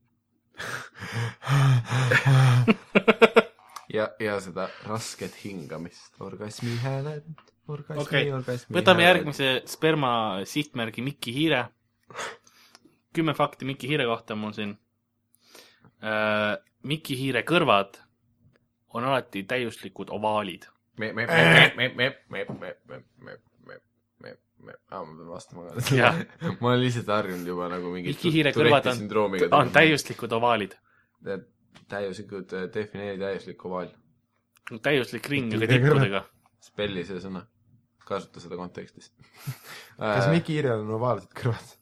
S4: ja , ja seda rasket hingamist . orgasmi hääled , orgasmi
S3: Okei.
S4: okay. , orgasmi
S3: võtame . järgmise sperma sihtmärgi Mikki Hiire . kümme fakti Mikki Hiire kohta on mul siin äh, . Mikki Hiire kõrvad on alati täiuslikud ovaalid .
S4: me , me , me , me , me , me , me , me , me , me , me , me , aa , ma pean vastama ka
S3: Jah. .
S4: ma olen lihtsalt harjunud juba nagu mingit
S3: Mikki Hiire kõrvad on , on täiuslikud ovaalid .
S4: täiuslikud , defineeri täiuslik ovaal .
S3: täiuslik ring , aga
S2: Kõrvad.
S3: tippudega .
S4: spelli see sõna , kasuta seda kontekstis Äh,
S2: kas . Mikki Hiirel on ovaalsed kõrvad ?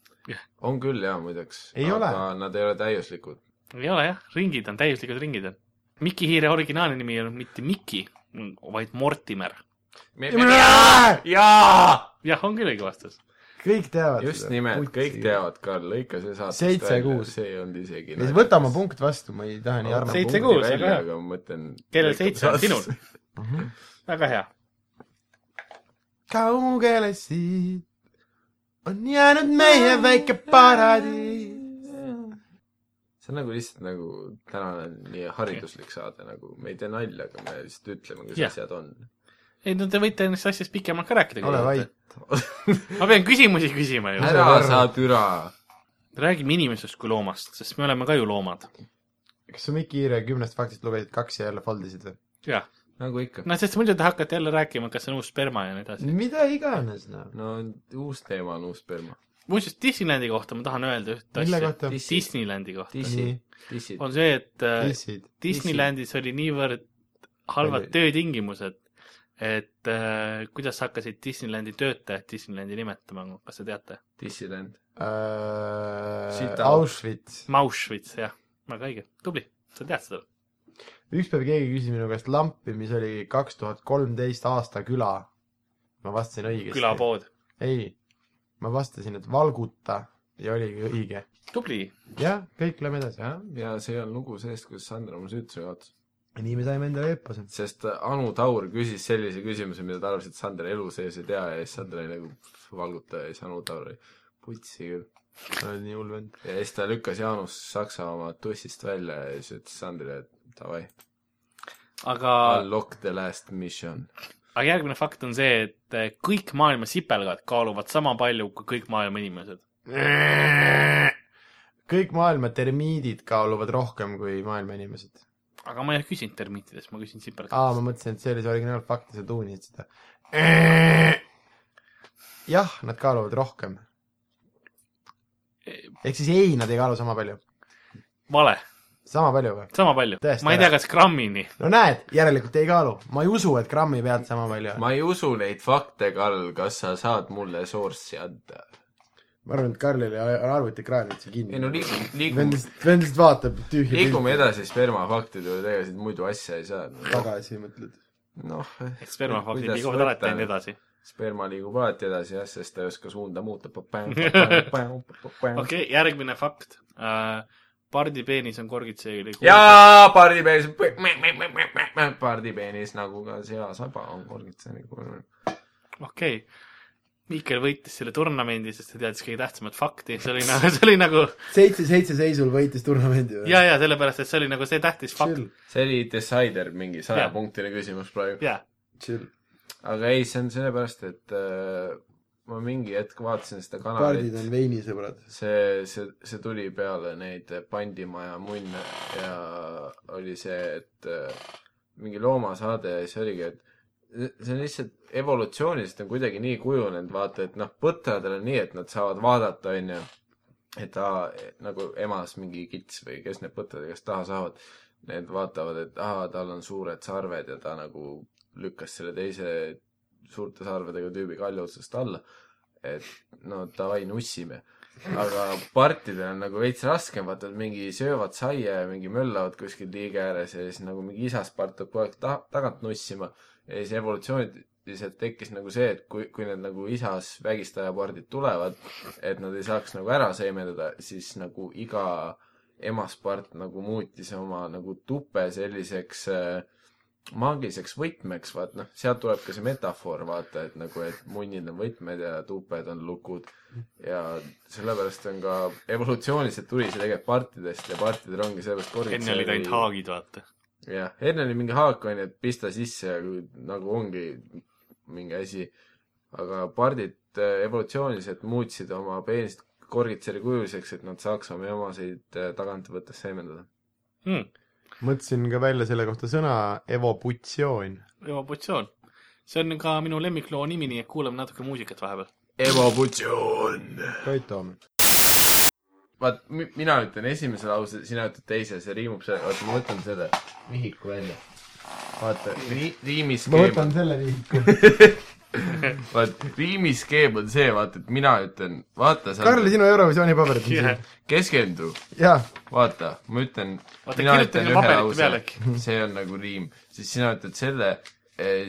S4: on küll jaa , muideks .
S2: Ei
S4: aga
S2: ole.
S4: nad ei ole täiuslikud .
S3: ei ole jah , ringid on täiuslikud ringid on . Mikki Hiire originaalne nimi ei olnud mitte Mikki , vaid Mortimer .
S4: jaa !
S3: jah , on küll õige vastus .
S2: kõik teavad
S4: just nimelt , kõik . teavad , Karl , lõika see saatest
S2: Seitse, kuus.
S4: see ei olnud isegi . nagu
S2: võta oma . punkt vastu , ma ei taha nii armsalt .
S3: Seitse- kuus, väga hea.
S4: aga ma mõtlen .
S3: kellel seitse on , sinul .
S2: Mhm.
S3: väga hea .
S2: kaugele siit on jäänud meie väike paradiis .
S4: see on nagu lihtsalt nagu tänane nii hariduslik saade nagu , me ei tee nalja , aga me lihtsalt ütleme , kuidas
S3: Jah.
S4: asjad on .
S3: ei no te võite nendest asjast pikemalt ka rääkida .
S2: ole vait .
S3: ma pean küsimusi küsima ju .
S4: ära sa türa
S3: räägime inimesest kui loomast , sest me oleme ka ju loomad .
S2: kas sa Mikki Hiire kümnest faktist lugesid kaks ja jälle foldisid või ?
S3: jah ,
S4: nagu ikka .
S3: no sest muidu te hakkate jälle rääkima , kas see on uus sperma ja nii edasi .
S2: mida iganes , noh .
S4: no uus teema on uus sperma .
S3: muuseas Disneylandi kohta ma tahan öelda ühte
S2: mille
S3: asja .
S2: kohta ?
S4: Dis-
S3: Disneylandi kohta
S2: Nii.
S4: dissid , dissid .
S3: on see , et äh,
S2: issid .
S3: Disneylandis oli niivõrd halvad
S4: Palju-
S3: töötingimused , et äh, kuidas hakkasid Disneylandi töötajad Disneylandi nimetama , kas te teate ?
S4: Dissident . Siit alla.
S2: Äh, Auschwitz .
S3: Mauschwitz , jah , väga õige , tubli , sa tead seda .
S2: üks päev keegi küsis minu käest lampi , mis oli kaks tuhat kolmteist aasta küla ma vastasin õigesti .
S3: külapood .
S2: ei , ma vastasin , et valguta ja oligi õige .
S3: tubli .
S2: jah , kõik lähme edasi .
S4: jah , ja see on lugu sellest , kuidas Sander oma süütuse kaotas .
S2: ja nii me saime endale eepose .
S4: sest äh, Anu Taur küsis sellise küsimuse , mida ta arvas , et Sander elu sees ei tea ja siis Sander oli nagu pff, valgutaja ja siis Anu Taur oli putsi küll .
S2: sa oled nii hull vend .
S4: ja siis ta lükkas Jaanus Saksa oma tussist välja ja siis ütles Sandrile , et davai ,
S3: aga ,
S4: unlock the last mission .
S3: aga järgmine fakt on see , et eh, kõik maailma sipelgad kaaluvad sama palju kui kõik maailma inimesed .
S2: kõik maailma termiidid kaaluvad rohkem kui maailma inimesed .
S3: aga ma ei ole küsinud termiitidest , ma küsin
S2: aa ,
S3: sipelgatest .
S2: ma mõtlesin , et see oli see originaalfakt ja sa tuunisid seda . jah , nad kaaluvad rohkem . ehk siis ei , nad ei kaalu sama palju .
S3: vale ,
S2: sama palju või ?
S3: sama palju
S2: Tõesti, .
S3: ma ei tea , kas grammini .
S2: no näed , järelikult ei kaalu . ma ei usu , et grammi pealt sama palju on .
S4: ma ei usu neid fakte , Karl , kas sa saad mulle source'i anda ?
S2: ma arvan , et Karlil ei ole arvutikraan üldse
S4: ei no
S2: kinni .
S4: liigume , liigume ,
S2: vend lihtsalt , vend lihtsalt vaatab tühja
S4: liigume edasi spermafaktide juurde , ega siit muidu asja ei saa .
S2: tagasi ja mõtled .
S4: noh ,
S3: spermafaktid
S4: Kuidas
S3: liiguvad alati
S4: võtta?
S3: enne edasi .
S4: sperma liigub alati edasi jah , sest ta ei oska suunda muuta .
S3: okei , järgmine fakt . pardi peenis on korgitseeli .
S4: jaa , pardipeenis , pardipeenis nagu ka seasaba on korgitseni kujunenud .
S3: okei okay. . Miikel võitis selle turnamendi , sest ta teadis kõige tähtsamat fakti , see oli nagu , see oli nagu
S2: seitse , seitse seisul võitis turnamendi või ?
S3: ja , ja sellepärast , et see oli nagu see tähtis fakt .
S2: chill ,
S4: see oli Decider mingi
S3: Jaa.
S4: sajapunktine küsimus praegu .
S3: jaa ,
S2: chill .
S4: aga ei , see on sellepärast , et äh, ma mingi hetk vaatasin seda
S2: pardid on
S4: kanalit ,
S2: veinisõbrad .
S4: see , see , see tuli peale neid pandimaja munne ja oli see , et äh, mingi loomasaade ja siis oligi , et see on lihtsalt , evolutsiooniliselt on kuidagi nii kujunenud , vaata , et noh , põtradel on nii , et nad saavad vaadata , onju , et ta nagu emas mingi kits või kes need põtrad , kes taha saavad , need vaatavad , et aa , tal on suured sarved ja ta nagu lükkas selle teise suurte sarvedega tüübi kalju otsast alla . et no davai , nussime . aga partidel on nagu veits raskem , vaata , et mingi söövad saia ja mingi möllavad kuskil liige ääres ja siis nagu mingi isaspart peab kogu aeg ta- , tagant nussima ja siis evolutsiooniliselt tekkis nagu see , et kui , kui need nagu isas vägistajapardid tulevad , et nad ei saaks nagu ära seemendada , siis nagu iga emaspart nagu muutis oma nagu tupe selliseks äh, maagiliseks võtmeks , vaat noh , sealt tuleb ka see metafoor , vaata , et nagu , et munnid on võtmed ja tuped on lukud ja sellepärast on ka evolutsiooniliselt tuli see tegelikult partidest ja partidel ongi sellepärast nagu
S3: enne olid ainult haagid , vaata .
S4: jah , enne oli mingi haak onju , et pista sisse ja kui- nagu ongi mingi asi . aga pardid äh, evolutsiooniliselt muutsid oma peenist korgitseri kujuliseks , et nad saaks oma emasid äh, tagant võttes seemendada .
S3: hmm. .
S2: mõtlesin ka välja selle kohta sõna evoputsioon .
S3: emotsioon . see on ka minu lemmikloo nimi , nii et kuulame natuke muusikat vahepeal .
S4: evolutsioon .
S2: Koit Toom .
S4: vaat mi- mina ütlen esimese lause , sina ütled teise , see riimub selle , oota ma võtan selle vihiku välja . vaata ,
S2: ma
S4: riimiskeem on
S2: võtan selle vihiku .
S4: vaat riimiskeem on see , vaata , et mina ütlen , vaata sa
S2: Karl , sinu Eurovisiooni paberid on siin .
S4: keskendu
S2: jaa ,
S4: vaata , ma ütlen ,
S3: Vaata,
S4: mina
S3: kirjuta
S4: ütlen
S3: sinna
S4: ühe
S3: paberite
S4: lause
S3: peale äkki. ,
S4: see on nagu riim , siis sina ütled selle ,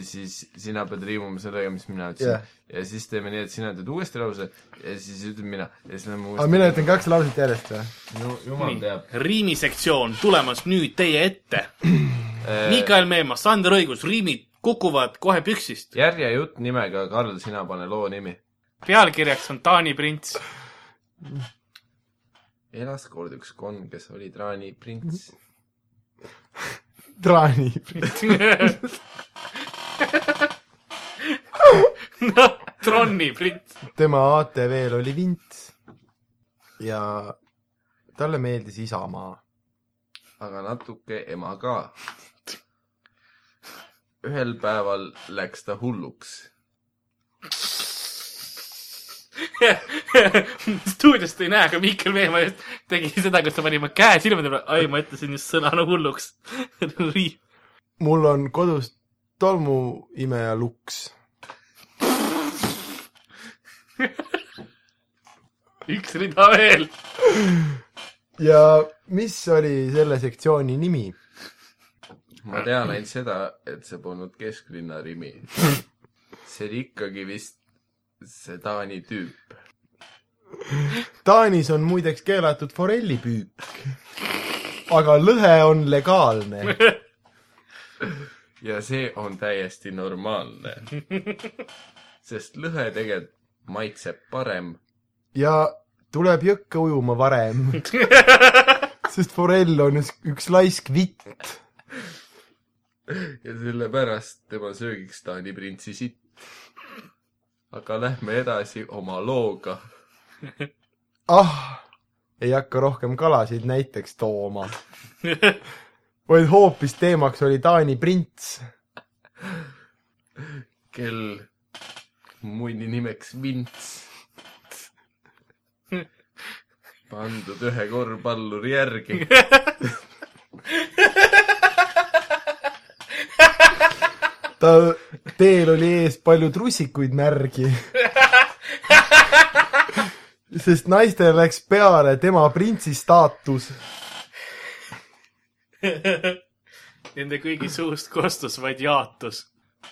S4: siis sina pead riimuma sellega , mis mina ütlesin
S2: Jah.
S4: yeah. . ja siis teeme nii , et sina ütled uuesti lause ja siis ütlen mina ja siis lähme
S2: aga mina
S4: uuesti .
S2: ütlen kaks lauset järjest või ?
S4: no jumal teab .
S3: riimisektsioon tulemas nüüd teie ette .
S4: Eh, Äh.
S3: Miikael Meemas , Sander Õigus , riimid kukuvad kohe püksist .
S4: järjejutt nimega Karl , sina pane loo nimi .
S3: pealkirjaks on Taani prints .
S4: elas kord üks konn , kes oli traaniprints .
S2: traani .
S3: noh , Tronni prints .
S2: tema ATV-l oli vints ja talle meeldis Isamaa .
S4: aga natuke ema ka . ühel päeval läks ta hulluks
S3: stuudiost ei näe , aga Miikael Meemaa just tegi seda , kus ta pani oma käe silmade peale . ai , ma ütlesin just sõna nagu hulluks . riim .
S2: mul on kodus tolmuimeja luks .
S3: üks rida veel .
S2: ja mis oli selle sektsiooni nimi ?
S4: ma tean ainult seda , et see polnud kesklinna Rimi . see oli ikkagi vist see Taani tüüp .
S2: Taanis on muideks keelatud forellipüük . aga lõhe on legaalne .
S4: ja see on täiesti normaalne . sest lõhe tegelikult maitseb parem .
S2: ja tuleb jõkke ujuma varem . sest forell on üks, üks laisk vitt .
S4: ja sellepärast tema söögiks Taani printsi sitt . aga lähme edasi oma looga .
S2: ah , ei hakka rohkem kalasid näiteks tooma . vaid hoopis teemaks oli Taani prints .
S4: kel muini nimeks Vints . pandud ühe korvpalluri järgi .
S2: ta teel oli ees palju trussikuid märgi . sest naistel läks peale tema printsi staatus .
S3: Nende kõigi suust kostus vaid jaatus ,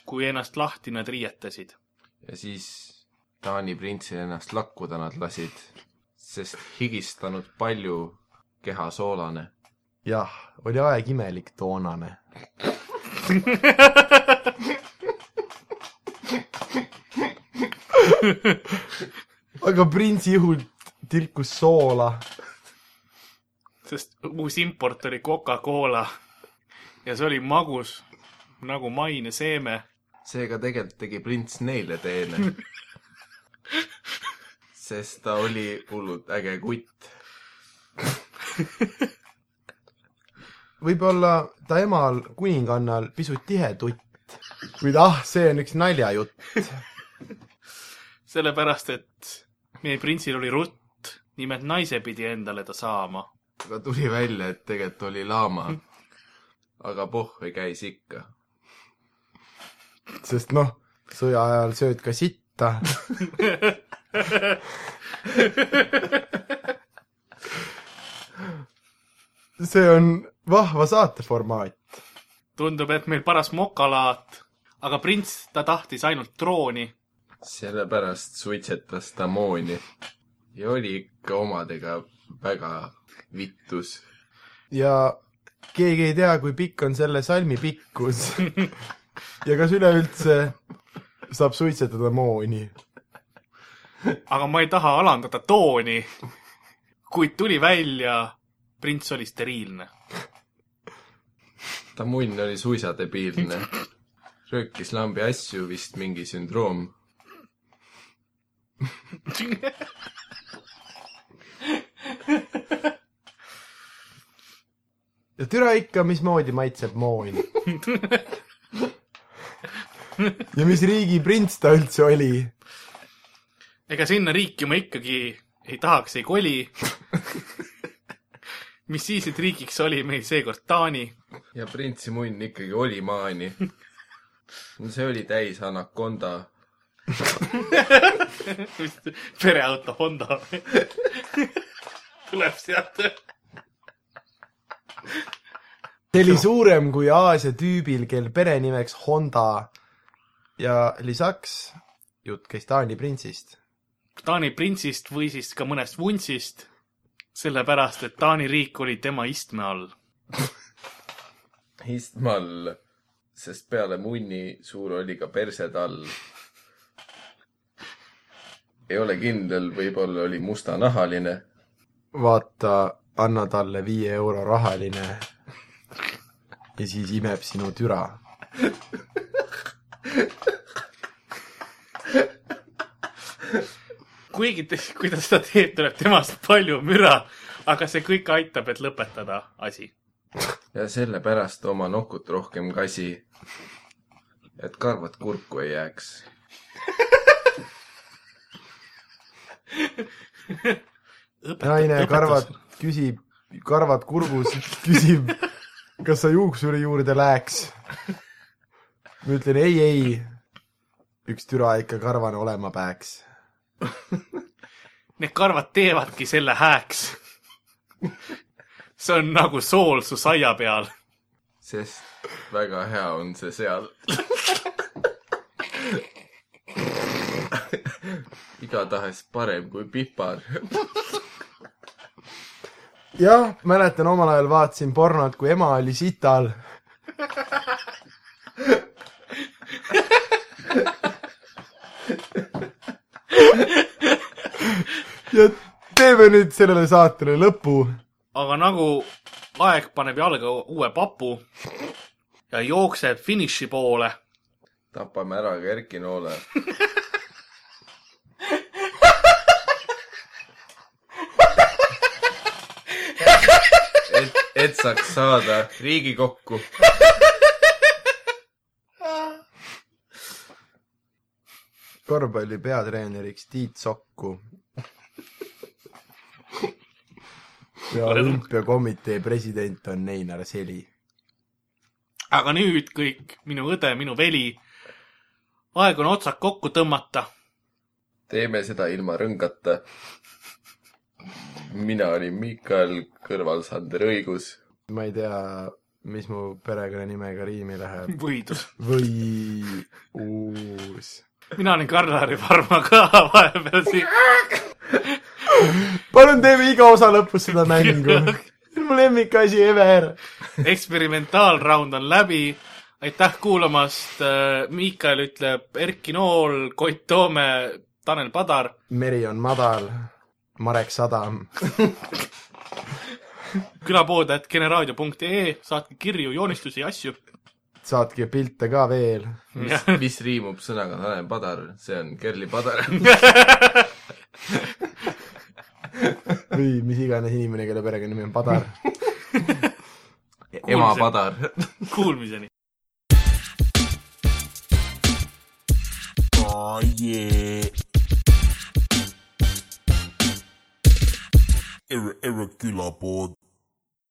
S3: kui ennast lahti nad riietasid .
S4: ja siis Taani printsil ennast lakkuda nad lasid , sest higistanud palju keha soolane .
S2: jah , oli aeg imelik toonane . aga printsi õhult tilkus soola
S3: sest uus import oli Coca-Cola ja see oli magus nagu maine seeme .
S4: seega tegelikult tegi prints neile teene . sest ta oli hullult äge kutt .
S2: võib-olla ta emal kuningannal pisut tihe tutt , kuid ah , see on üks naljajutt .
S3: sellepärast , et meie printsil oli rutt , nimelt naise pidi endale ta saama .
S4: aga tuli välja , et tegelikult oli laama . aga pohhui käis ikka .
S2: sest noh , sõja ajal sööd ka sitta . see on vahva saateformaat .
S3: tundub , et meil paras mokalaat , aga prints , ta tahtis ainult trooni .
S4: sellepärast suitsetas ta mooni ja oli ikka omadega väga vittus .
S2: ja keegi ei tea , kui pikk on selle salmi pikkus . ja kas üleüldse saab suitsetada mooni .
S3: aga ma ei taha alandada tooni . kuid tuli välja , prints oli steriilne .
S4: ta munn oli suisa debiilne . röökis lambi asju , vist mingi sündroom .
S2: ja türa ikka , mismoodi maitseb moon . ja mis riigi prints ta üldse oli ?
S3: ega sinna riiki ma ikkagi ei tahaks , ei koli . mis siis , et riigiks oli meil seekord Taani
S4: ja printsi munn ikkagi oli maani . no see oli täis anakonda .
S3: pereauto Honda tuleb sealt .
S2: see oli suurem kui Aasia tüübil , kel pere nimeks Honda . ja lisaks jutt käis Taani printsist .
S3: Taani printsist või siis ka mõnest vuntsist , sellepärast et Taani riik oli tema istme all .
S4: Istmal , sest peale munni suur oli ka perse tall . ei ole kindel , võib-olla oli mustanahaline .
S2: vaata , anna talle viie euro rahaline . ja siis imeb sinu türa .
S3: kuigi te, kui ta seda teeb , tuleb temast palju müra , aga see kõik aitab , et lõpetada asi .
S4: ja sellepärast oma nokut rohkem kasi . et karvad kurku ei jääks .
S2: naine karvad küsib , karvad kurgus küsib , kas sa juuksuri juurde läheks . ma ütlen ei , ei . üks türa ikka karvane olema peaks .
S3: Need karvad teevadki selle hääks . see on nagu sool su saia peal .
S4: sest väga hea on see seal . igatahes parem kui pipar .
S2: jah , mäletan omal ajal vaatasin pornot , kui ema oli sital . ja teeme nüüd sellele saatele lõpu .
S3: aga nagu aeg paneb jalga uue papu ja jookseb finiši poole ,
S4: tapame ära ka Erki Noole . et , et saaks saada Riigikokku .
S2: korvpalli peatreeneriks Tiit Sokku . ja olümpiakomitee president on Einar Seli .
S3: aga nüüd kõik , minu õde , minu veli , aeg on otsad kokku tõmmata .
S4: teeme seda ilma rõngata . mina olin Miikal , kõrval Sander Õigus .
S2: ma ei tea , mis mu perekonnanimega riimi läheb
S3: võidus .
S2: või uus
S3: mina olin Karl-Harri Varma ka vahepeal siin .
S2: palun teeme iga osa lõpus seda mängu . see on mu lemmikasi ever .
S3: eksperimentaalraund on läbi . aitäh kuulamast . Miikael ütleb Erki Nool , Koit Toome , Tanel Padar .
S2: meri on madal , Marek Sadam .
S3: külapood , et generaadio.ee , saatke kirju , joonistusi ja asju .
S2: saatke pilte ka veel .
S4: mis riimub sõnaga Tanel Padar , see on Kerli Padar .
S2: või mis iganes inimene , kelle perekonnanimi on Padar .
S4: ema Padar .
S3: Kuulmiseni .
S1: Oh yeah. Ir- irregular board.